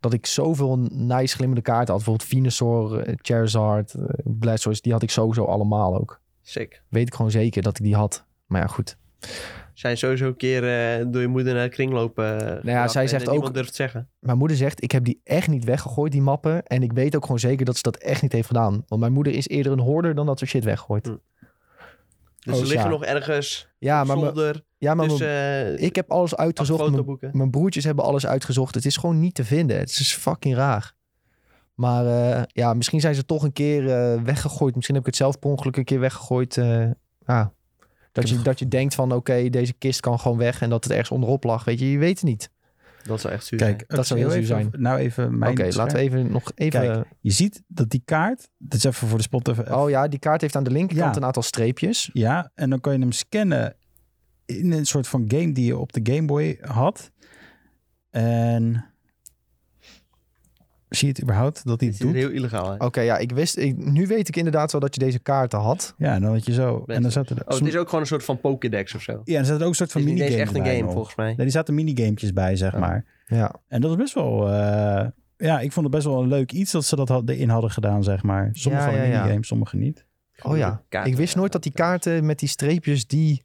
dat ik zoveel nice glimmende kaarten had. Bijvoorbeeld Venusaur, eh, Charizard, eh, Blastoise. Die had ik sowieso allemaal ook. Sick. Weet ik gewoon zeker dat ik die had. Maar ja, goed. Zijn sowieso een keer eh, door je moeder naar de kringloop eh Nou zij zegt ook- Niemand durft het zeggen. Mijn moeder zegt, ik heb die echt niet weggegooid, die mappen. En ik weet ook gewoon zeker dat ze dat echt niet heeft gedaan. Want mijn moeder is eerder een hoorder dan dat ze shit weggooit. Hm. Dus Oh, ze liggen ja. nog ergens Ja, op maar, mijn- zolder. ja, maar dus mijn- eh ik heb alles acht uitgezocht. Mijn- fotoboeken. Mijn broertjes hebben alles uitgezocht. Het is gewoon niet te vinden. Het is fucking raar. Maar eh, ja, misschien zijn ze toch een keer eh, weggegooid. Misschien heb ik het zelf per ongeluk een keer weggegooid. eh, ja. dat, je, dat je denkt van oké, deze kist kan gewoon weg. En dat het ergens onderop lag. Weet je, je weet het niet. Dat zou echt zuur Kijk, Dat zou ik heel zuur even- Nou even Oké, mijn... laten we even nog even... eh, Kijk, Je ziet dat die kaart, dat is even voor de spot even, oh ja, die kaart heeft aan de linkerkant Ja. een aantal streepjes. Ja, en dan kan je hem scannen in een soort van game die je op de Game Boy had. En zie je het überhaupt dat hij zijn. het Dit is doet? heel illegaal. hè? Oh, Oké, ja, ik wist... ik- nu weet ik inderdaad wel dat je deze kaarten had. Ja, en dan had je zo. En dan zaten er, Oh, het is ook gewoon een soort van Pokédex of zo. Het ja, en er zaten ook een soort van is Dus niet eens minigames echt een bij game, nog. volgens mij. Nee, die zaten minigametjes bij, zeg Ja. maar. Ja, En dat was best wel... eh, ja, ik vond het best wel een leuk iets dat ze dat had, erin hadden gedaan, zeg maar. Sommige Ja, hadden ja, ja. minigames, sommige niet. oh ja. Kaarten, Ik wist ja, nooit dat die kaarten met die streepjes die,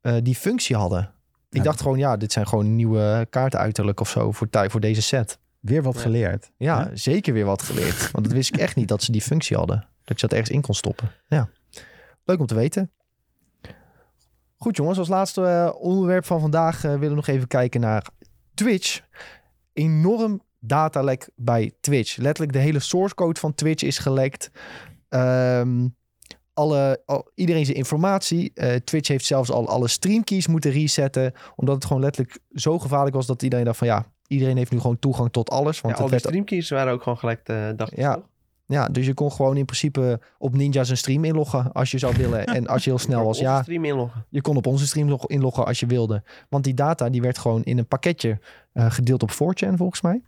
eh, die functie hadden. Ik Ja. dacht gewoon, ja, dit zijn gewoon nieuwe kaarten uiterlijk of zo voor, tij- voor deze set. Weer wat Ja. geleerd. Ja, Ja. zeker weer wat geleerd. Want dat wist ik echt niet dat ze die functie hadden. Dat je dat ergens in kon stoppen. Ja, leuk om te weten. Goed jongens, als laatste eh, onderwerp van vandaag eh, willen we nog even kijken naar Twitch. Enorm datalek bij Twitch. Letterlijk de hele source code van Twitch is gelekt. Ehm, alle, al- iedereen zijn informatie. Eh, Twitch heeft zelfs al alle streamkeys moeten resetten. Omdat het gewoon letterlijk zo gevaarlijk was dat iedereen dacht van ja, iedereen heeft nu gewoon toegang tot alles. Want Ja, het al die werd streamkeys waren ook gewoon gelijk de dag. Ja. toch? ja, dus je kon gewoon in principe op Ninja zijn stream inloggen als je zou willen. en als *laughs* je heel snel was, Of ja, stream inloggen. je kon op onze stream log- inloggen als je wilde. Want die data die werd gewoon in een pakketje eh, gedeeld op 4chan volgens mij.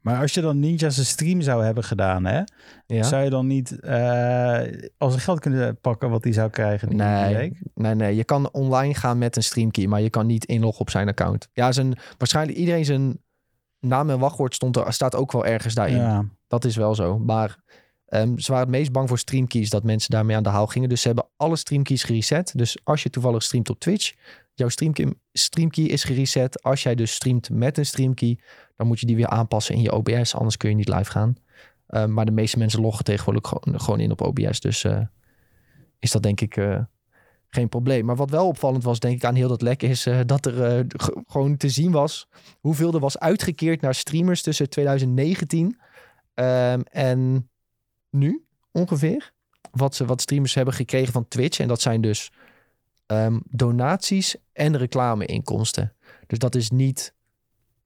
Maar als je dan Ninja's een stream zou hebben gedaan, hè? Ja. Zou je dan niet eh, als een geld kunnen pakken wat hij zou krijgen? Die Nee. week? Nee, nee, je kan online gaan met een streamkey, maar je kan niet inloggen op zijn account. Ja, zijn, waarschijnlijk iedereen zijn naam en wachtwoord stond er, staat ook wel ergens daarin. Ja. Dat is wel zo. Maar ehm, ze waren het meest bang voor streamkeys, dat mensen daarmee aan de haal gingen. Dus ze hebben alle streamkeys gereset. Dus als je toevallig streamt op Twitch, jouw streamkey, streamkey is gereset. Als jij dus streamt met een streamkey, dan moet je die weer aanpassen in je OBS. Anders kun je niet live gaan. Ehm, maar de meeste mensen loggen tegenwoordig gewoon, gewoon in op OBS. Dus eh, is dat denk ik eh, geen probleem. Maar wat wel opvallend was, denk ik, aan heel dat lek, is eh, dat er eh, ge- gewoon te zien was hoeveel er was uitgekeerd naar streamers tussen 2019 Ehm, en nu ongeveer. Wat, ze, wat streamers hebben gekregen van Twitch. En dat zijn dus ehm, donaties en reclameinkomsten. Dus dat is niet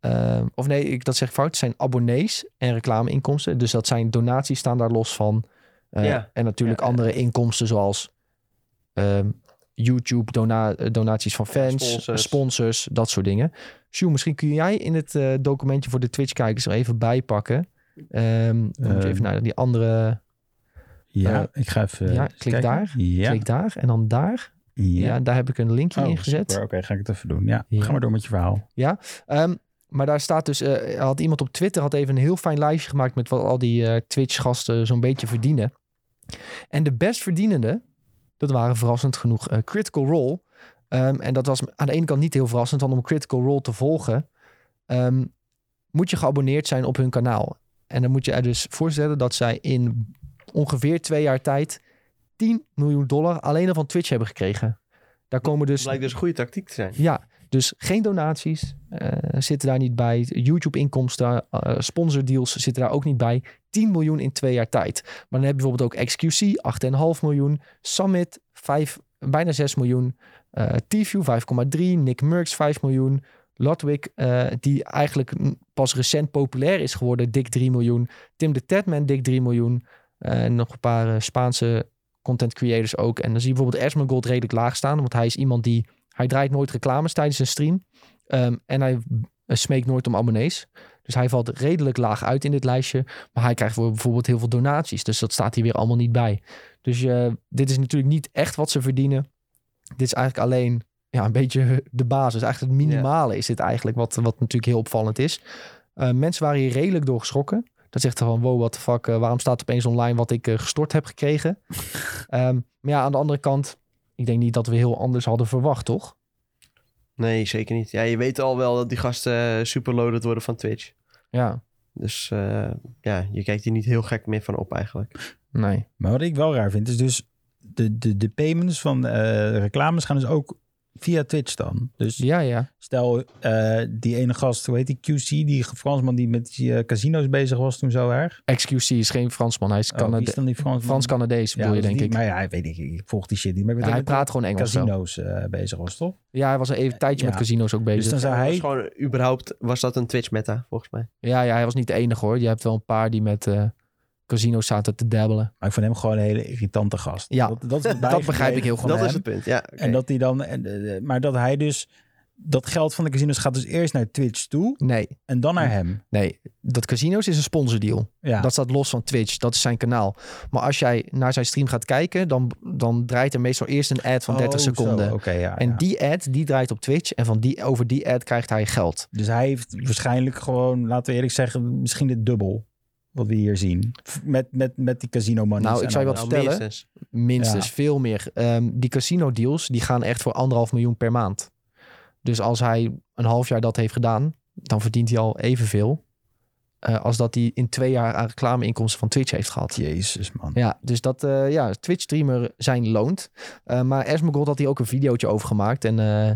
eh, of nee, ik, dat zeg ik fout. Het zijn abonnees en reclameinkomsten. Dus dat zijn donaties staan daar los van. Eh, Ja. En natuurlijk Ja, ja. andere inkomsten zoals ehm, YouTube, dona- eh, donaties van fans, sponsors. Sponsors. dat soort dingen. Sjoe, misschien kun jij in het eh, documentje voor de Twitch-kijkers er even bij pakken. Ehm, dan moet je Ehm, even naar die andere Ja, Eh, ik ga even. ja, eens klik kijken. daar. Ja. klik daar en dan daar. Ja. ja. daar heb ik een linkje Oh, in gezet. super. Oké, ga ik het even doen. Ja. Ja. Ga maar door met je verhaal. Ehm, maar daar staat dus, eh, had iemand op Twitter had even een heel fijn lijstje gemaakt met wat al die eh, Twitch-gasten zo'n beetje verdienen. En de best verdienende, dat waren verrassend genoeg eh, Critical Role. Ehm, en dat was aan de ene kant niet heel verrassend, want om Critical Role te volgen, ehm, moet je geabonneerd zijn op hun kanaal. En dan moet je er dus voorstellen dat zij in ongeveer twee jaar tijd 10 miljoen dollar alleen al van Twitch hebben gekregen. Daar komen dus Blijkt dus een goede tactiek te zijn. ja, dus geen donaties eh, zitten daar niet bij. YouTube-inkomsten, eh, sponsordeals zitten daar ook niet bij. 10 miljoen in twee jaar tijd. Maar dan heb je bijvoorbeeld ook XQC, 8,5 miljoen. Summit, 5, bijna 6 miljoen. eh T-View, 5,3. Nick Merckx, 5 miljoen. Ludwig, eh, die eigenlijk mm, pas recent populair is geworden, dik 3 miljoen. Tim de Tedman, dik 3 miljoen. Eh, en nog een paar eh, Spaanse content creators ook. En dan zie je bijvoorbeeld Esmergold redelijk laag staan, want hij is iemand die hij draait nooit reclames tijdens een stream. Ehm, en hij eh, smeekt nooit om abonnees. Dus hij valt redelijk laag uit in dit lijstje. Maar hij krijgt voor bijvoorbeeld heel veel donaties. Dus dat staat hier weer allemaal niet bij. Dus je, dit is natuurlijk niet echt wat ze verdienen. Dit is eigenlijk alleen ja, een beetje *laughs* de basis. Eigenlijk het minimale is dit eigenlijk. Wat, wat natuurlijk heel opvallend is. Eh, mensen waren hier redelijk door geschrokken. Dat zegt er van, wow, what the fuck. eh, waarom staat opeens online wat ik eh, gestort heb gekregen? Ehm, maar ja, aan de andere kant. Ik denk niet dat we heel anders hadden verwacht, toch? Nee, zeker niet. Ja, je weet al wel dat die gasten super loaded worden van Twitch. Ja, Dus eh, ja, je kijkt hier niet heel gek meer van op eigenlijk. nee. Maar wat ik wel raar vind, is dus de, de, de payments van eh, reclames gaan dus ook via Twitch dan. Dus Ja, ja. stel eh, die ene gast, hoe heet die QC, die Fransman die met die, eh, casino's bezig was toen zo erg. XQC is geen Fransman. Hij is Oh, wie is dan die Fransman? Frans-Canadees, Ja, bedoel je, dat is denk die- ik. Maar ja, weet ik, ik volg die shit niet. Maar ik Ja, weet hij dat hij praat gewoon met Engels wel. casino's eh, bezig was, toch? Ja, hij was al even een tijdje Eh, Ja. met casino's ook Dus bezig. dan zou Dat was hij... gewoon überhaupt, was dat een Twitch meta volgens mij. Ja, ja, hij was niet de enige hoor. Je hebt wel een paar die met eh, casino's zaten te dabbelen. Maar ik vond hem gewoon een hele irritante gast. Ja, dat, dat, is *laughs* wat dat begrijp ik heel bijgebleven goed. van Dat hem. is het punt, ja. oké. En dat hij dan, en, eh, maar dat hij dus, dat geld van de casinos gaat dus eerst naar Twitch toe Nee, en dan naar hem. nee. Dat casino's is een sponsordeal. Ja, Hm. Dat staat los van Twitch. Dat is zijn kanaal. Maar als jij naar zijn stream gaat kijken, dan, dan draait er meestal eerst een ad van 30 Oh, seconden. zo. Oké, ja, En ja. die ad, die draait op Twitch. En van die, over die ad krijgt hij geld. Dus hij heeft waarschijnlijk gewoon, laten we eerlijk zeggen, misschien het dubbel wat we hier zien. F- Met, met, met die casino money. Nou, ik zou je wat Nou, vertellen. minstens. Minstens, Ja. veel meer. Ehm, die casino deals, die gaan echt voor anderhalf miljoen per maand. Dus als hij een half jaar dat heeft gedaan, dan verdient hij al evenveel. eh, als dat hij in twee jaar aan reclameinkomsten van Twitch heeft gehad. Jezus, man. Ja, dus dat, eh, ja, Twitch-streamer zijn loont. Eh, maar Esmergold had hier ook een videootje over gemaakt. En eh,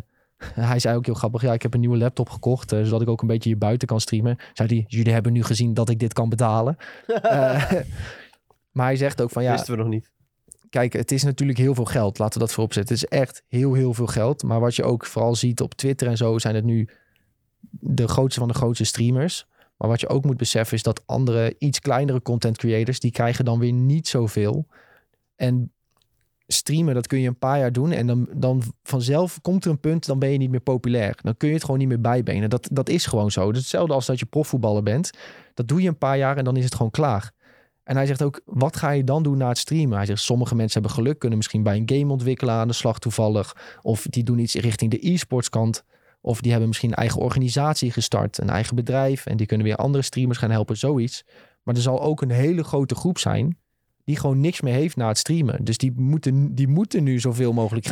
*laughs* hij zei ook heel grappig, ja, ik heb een nieuwe laptop gekocht, eh, zodat ik ook een beetje hier buiten kan streamen. Zei hij, jullie hebben nu gezien dat ik dit kan betalen. *laughs* Eh, *laughs* maar hij zegt ook van, ja, Wisten we nog niet. Dus Ja,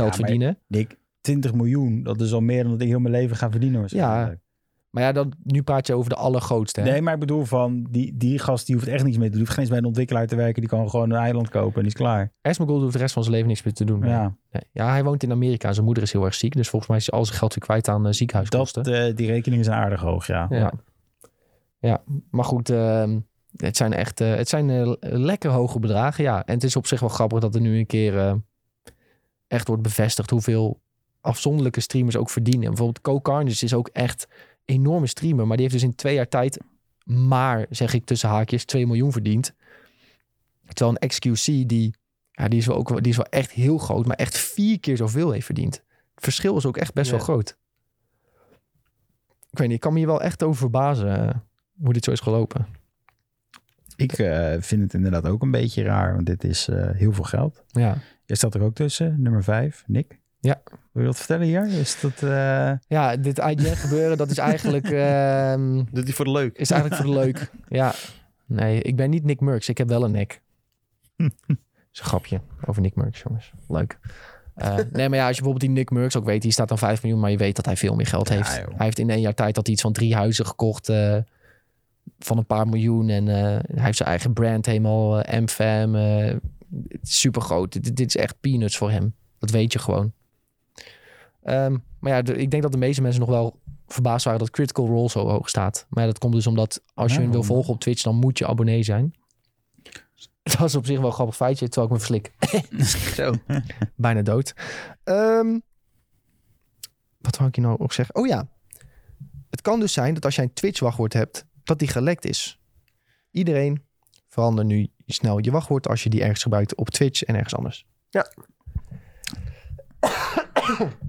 maar- verdienen. Dik 20 miljoen, dat is al meer dan dat ik heel mijn leven ga verdienen. waarschijnlijk. Maar ja, dan, nu praat je over de allergrootste. hè? Nee, maar ik bedoel van, die, die gast die hoeft echt niets meer te doen. Die hoeft geen eens bij een ontwikkelaar te werken. Die kan gewoon een eiland kopen en die is klaar. Esmeralda hoeft de rest van zijn leven niks meer te doen. Nee. Ja, Nee. Ja, hij woont in Amerika. Zijn moeder is heel erg ziek. Dus volgens mij is hij al zijn geld weer kwijt aan eh, ziekenhuiskosten. dat, eh, die rekeningen zijn aardig hoog, ja. Ja. ja, maar goed, ehm, het zijn echt eh, het zijn, eh, lekker hoge bedragen. Ja, en het is op zich wel grappig dat er nu een keer eh, echt wordt bevestigd hoeveel afzonderlijke streamers ook verdienen. Bijvoorbeeld Co Carnage is ook echt enorme streamer. Maar die heeft dus in twee jaar tijd maar, zeg ik tussen haakjes, 2 miljoen verdiend. Terwijl een XQC, die, ja, die, is wel ook, wel- die is wel echt heel groot, maar echt vier keer zoveel heeft verdiend. Het verschil is ook echt best Ja. wel groot. Ik weet niet, ik kan me hier wel echt over verbazen eh, hoe dit zo is gelopen. Ik eh, vind het inderdaad ook een beetje raar, want dit is eh, heel veel geld. Ja. Jij staat er ook tussen, nummer vijf, Nick. Ja. Wil je dat vertellen hier? Is dat... eh, *laughs* Ja, dit IGN gebeuren, dat is *laughs* eigenlijk, ehm, Doet hij voor de leuk. is eigenlijk voor de *laughs* leuk. Ja. Nee, ik ben niet Nick Murks. Ik heb wel een nek. Dat is een grapje over Nick Murks, jongens. Leuk. Eh, nee, maar ja, als je bijvoorbeeld die Nick Murks ook weet, die staat dan 5 miljoen, maar je weet dat hij veel meer geld Ja, heeft. joh. Hij heeft in één jaar tijd dat iets van drie huizen gekocht eh, van een paar miljoen. En eh, hij heeft zijn eigen brand helemaal, eh, MFM. eh, het is super groot. Dit, dit is echt peanuts voor hem. Dat weet je gewoon. Ehm, maar ja, de- ik denk dat de meeste mensen nog wel verbaasd waren dat Critical Role zo hoog staat. Maar ja, dat komt dus omdat als je Ja, hem wil waarom? volgen op Twitch, dan moet je abonnee zijn. *laughs* Dat is op zich wel een grappig feitje, terwijl ik me verslik. *laughs* Zo. Bijna dood. Ehm, wat wou ik je nou ook zeggen? Oh ja. Het kan dus zijn dat als jij een Twitch-wachtwoord hebt, dat die gelekt is. Iedereen verander nu snel je wachtwoord als je die ergens gebruikt op Twitch en ergens anders.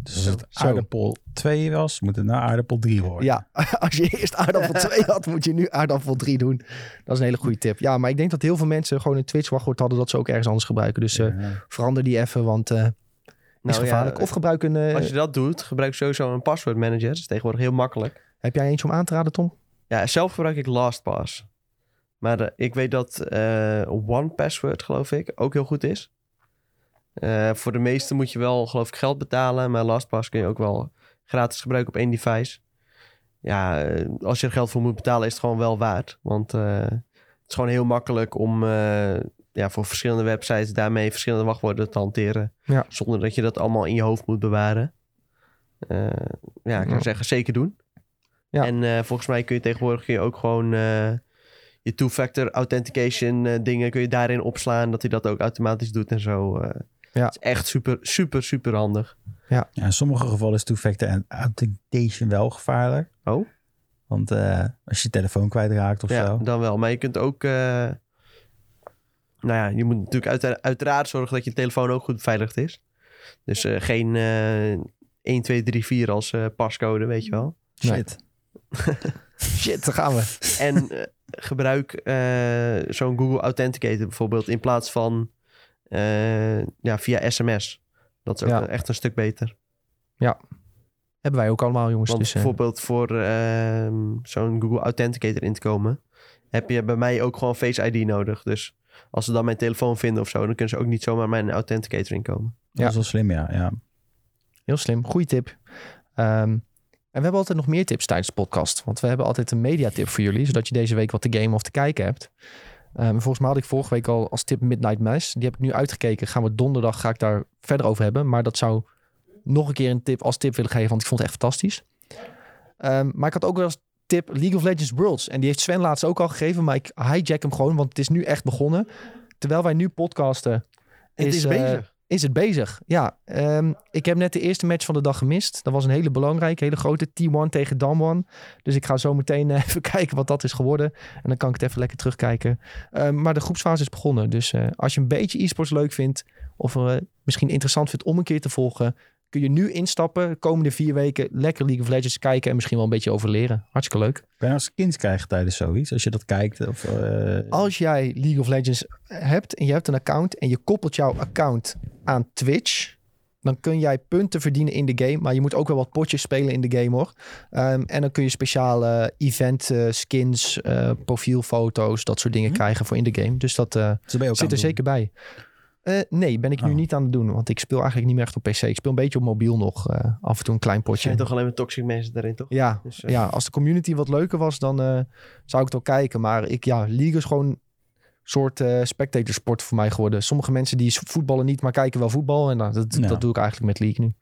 Dus als het Zo. aardappel 2 was, moet het naar aardappel 3 worden. Ja, *laughs* als je eerst aardappel 2 had, moet je nu aardappel 3 doen. Dat is een hele goede tip. Ja, maar ik denk dat heel veel mensen gewoon een Twitch-wachtwoord hadden dat ze ook ergens anders gebruiken. Dus eh, Ja. verander die even, want eh is Nou ja, gevaarlijk. of gebruik een... eh, Als je dat doet, gebruik sowieso een password manager. Dat is tegenwoordig heel makkelijk. Heb jij eentje om aan te raden, Tom? Ja, zelf gebruik ik LastPass. Maar eh, ik weet dat eh OnePassword, geloof ik, ook heel goed is. Eh, voor de meeste moet je wel, geloof ik, geld betalen. Maar LastPass kun je ook wel gratis gebruiken op één device. Ja, eh, als je er geld voor moet betalen, is het gewoon wel waard. Want eh, het is gewoon heel makkelijk om eh, ja, voor verschillende websites daarmee verschillende wachtwoorden te hanteren. Ja. Zonder dat je dat allemaal in je hoofd moet bewaren. Eh, ja, ik zou Ja. zeggen, zeker doen. Ja. En eh, volgens mij kun je tegenwoordig kun je ook gewoon eh, je two-factor authentication eh, dingen kun je daarin opslaan. Dat hij dat ook automatisch doet en zo. eh. Ja. Het is echt super, super, super handig. Ja, in sommige gevallen is two-factor en authentication wel gevaarlijk. Oh? Want eh, als je je telefoon kwijtraakt of Ja, zo. dan wel. Maar je kunt ook... eh, nou ja, je moet natuurlijk uitera- uiteraard zorgen dat je telefoon ook goed beveiligd is. Dus eh, geen eh 1, 2, 3, 4 als eh, pascode, weet je wel. Shit. Shit, daar gaan we. En eh, gebruik eh, zo'n Google Authenticator bijvoorbeeld in plaats van eh, ja, via sms. Dat is ook Ja. een- echt een stuk beter. Hebben wij ook allemaal, jongens. Want dus, eh, bijvoorbeeld voor ehm, zo'n Google Authenticator in te komen, heb je bij mij ook gewoon Face ID nodig. Dus als ze dan mijn telefoon vinden of zo, dan kunnen ze ook niet zomaar mijn Authenticator inkomen. Dat Ja. is wel slim, ja. ja. Heel slim, goede tip. Ehm, en we hebben altijd nog meer tips tijdens de podcast. Want we hebben altijd een mediatip voor jullie, zodat je deze week wat te gamen of te kijken hebt. Ehm, volgens mij had ik vorige week al als tip Midnight Mass. Die heb ik nu uitgekeken. Gaan we donderdag ga ik daar verder over hebben. Maar dat zou nog een keer een tip als tip willen geven, want ik vond het echt fantastisch. Ehm, maar ik had ook wel als tip League of Legends Worlds. En die heeft Sven laatst ook al gegeven, maar ik hijack hem gewoon, want het is nu echt begonnen. Terwijl wij nu podcasten, Het is eh, bezig. is het bezig. Ja, ehm, ik heb net de eerste match van de dag gemist. Dat was een hele belangrijke, hele grote T1 tegen Damwon. Dus ik ga zo meteen eh, *laughs* even kijken wat dat is geworden. En dan kan ik het even lekker terugkijken. Ehm, maar de groepsfase is begonnen. Dus eh, als je een beetje e-sports leuk vindt... of eh, misschien interessant vindt om een keer te volgen... kun je nu instappen, de komende vier weken... lekker League of Legends kijken en misschien wel een beetje over leren. Hartstikke leuk. Kan je als kind krijgen tijdens zoiets? Als je dat kijkt of... eh, Als jij League of Legends hebt en je hebt een account en je koppelt jouw account aan Twitch, dan kun jij punten verdienen in de game. Maar je moet ook wel wat potjes spelen in de game hoor. Ehm, en dan kun je speciale event eh, skins, eh, profielfoto's, dat soort dingen Hm. krijgen voor in de game. Dus dat eh, zo ben je zit ook er aan het zeker bij. Eh, nee, ben ik nu Oh. niet aan het doen, want ik speel eigenlijk niet meer echt op PC. Ik speel een beetje op mobiel nog, eh, af en toe een klein Er potje. zijn toch alleen maar toxic mensen daarin, toch? Ja, Dus, eh, ja, als de community wat leuker was, dan eh, zou ik het wel kijken. Maar ik, ja, League is gewoon een soort eh spectatorsport voor mij geworden. Sommige mensen die s- voetballen niet, maar kijken wel voetbal. En nou, dat, Ja. dat doe ik eigenlijk met League nu.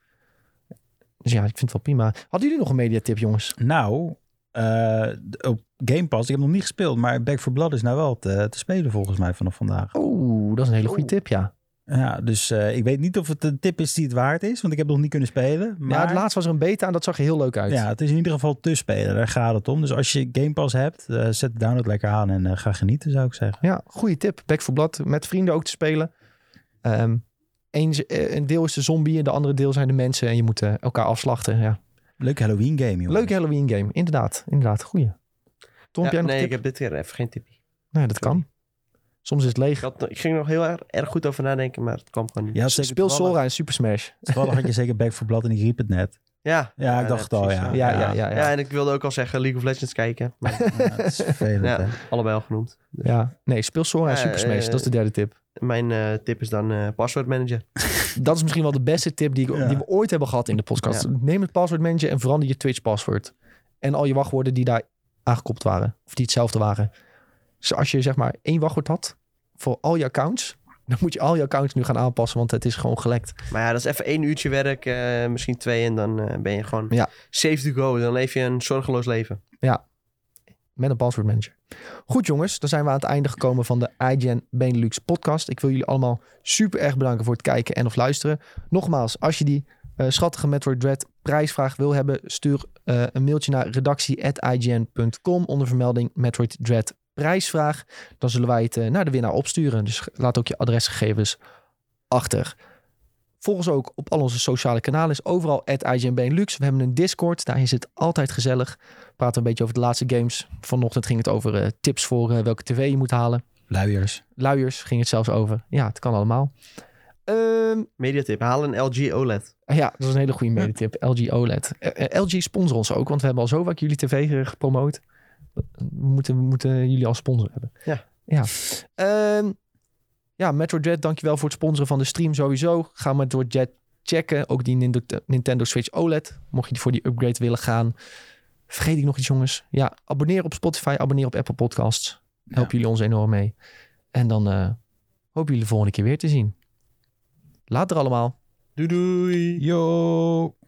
Dus ja, ik vind het wel prima. Hadden jullie nog een mediatip, jongens? doen. Nou, eh, d- op Game Pass, ik heb nog niet gespeeld, maar Back for Blood is nou wel te, te spelen volgens mij vanaf vandaag. Oeh, dat is een hele goede Oeh. tip, ja. Ja, dus eh, ik weet niet of het een tip is die het waard is, want ik heb nog niet kunnen spelen. Maar Ja, het laatst was er een beta en dat zag er heel leuk uit. Ja, het is in ieder geval te spelen. Daar gaat het om. Dus als je Game Pass hebt, eh, zet de download lekker aan en eh, ga genieten, zou ik zeggen. Ja, goede tip. Back for Blood. Met vrienden ook te spelen. Ehm, eens, eh, een deel is de zombie en de andere deel zijn de mensen. En je moet eh, elkaar afslachten. Ja. Leuk Halloween game, jongen. Leuke Halloween game. Inderdaad. Inderdaad. Goeie. Tom, Ja, heb jij nog nee, een ik tip? heb dit keer even geen tipje. Nee, dat kan. Soms is het Ik, leeg. had, ik ging er nog heel erg, erg goed over nadenken, maar het kwam gewoon niet. Je had zeker Speel toevallig- Sora en Super Smash. Toevallig had je zeker Back for Blood en ik riep het net. Ja, Ja, ik dacht het al, precies, ja. Ja, ja, ja. ja, Ja, ja. en ik wilde ook al zeggen League of Legends kijken. Maar Ja, het is vervelend, Ja. hè. allebei al genoemd. Nee, speel Sora en Ja, Super Smash. eh, dat is de derde tip. Mijn eh, tip is dan eh password manager. Dat is misschien wel de beste tip die, ik, Ja. die we ooit hebben gehad in de podcast. Ja. Neem het password manager en verander je Twitch paswoord. En al je wachtwoorden die daar aangekoppeld waren. Of die hetzelfde waren. Dus als je zeg maar één wachtwoord had voor al je accounts. Dan moet je al je accounts nu gaan aanpassen, want het is gewoon gelekt. Maar ja, dat is even één uurtje werk, eh, misschien twee. En dan eh, ben je gewoon Ja. safe to go. Dan leef je een zorgeloos leven. met een password manager. Goed jongens, dan zijn we aan het einde gekomen van de iGen Benelux podcast. Ik wil jullie allemaal super erg bedanken voor het kijken en of luisteren. Nogmaals, als je die eh, schattige Metroid Dread prijsvraag wil hebben, stuur eh, een mailtje naar redactie.ign.com onder vermelding Metroid Dread prijsvraag. Dan zullen wij het eh, naar de winnaar opsturen. Dus laat ook je adresgegevens achter. Volg ons ook op al onze sociale kanalen. Is overal IGN Benelux. We hebben een Discord. Daar is het altijd gezellig praten een beetje over de laatste games. Vanochtend ging het over eh, tips voor eh, welke tv je moet halen. Luiers. Luiers ging het zelfs over. Ja, het kan allemaal. Ehm, Mediatip, haal een LG OLED. Ah ja, dat is een hele goede medetip. LG OLED. Eh, eh, LG sponsor ons ook, want we hebben al zo vaak jullie tv ge- gepromoot. We moeten, we moeten jullie als sponsor hebben. Ja. Ja. Ehm, ja, Metroid Dread, dankjewel voor het sponsoren van de stream sowieso. Ga Metroid Dread checken. Ook die Nindo- Nintendo Switch OLED. Mocht je voor die upgrade willen gaan. Vergeet ik nog iets, jongens. Ja, abonneer op Spotify, abonneer op Apple Podcasts. Helpen jullie ons enorm mee. En dan eh, hopen jullie de volgende keer weer te zien. Later allemaal. Doei doei! Yo.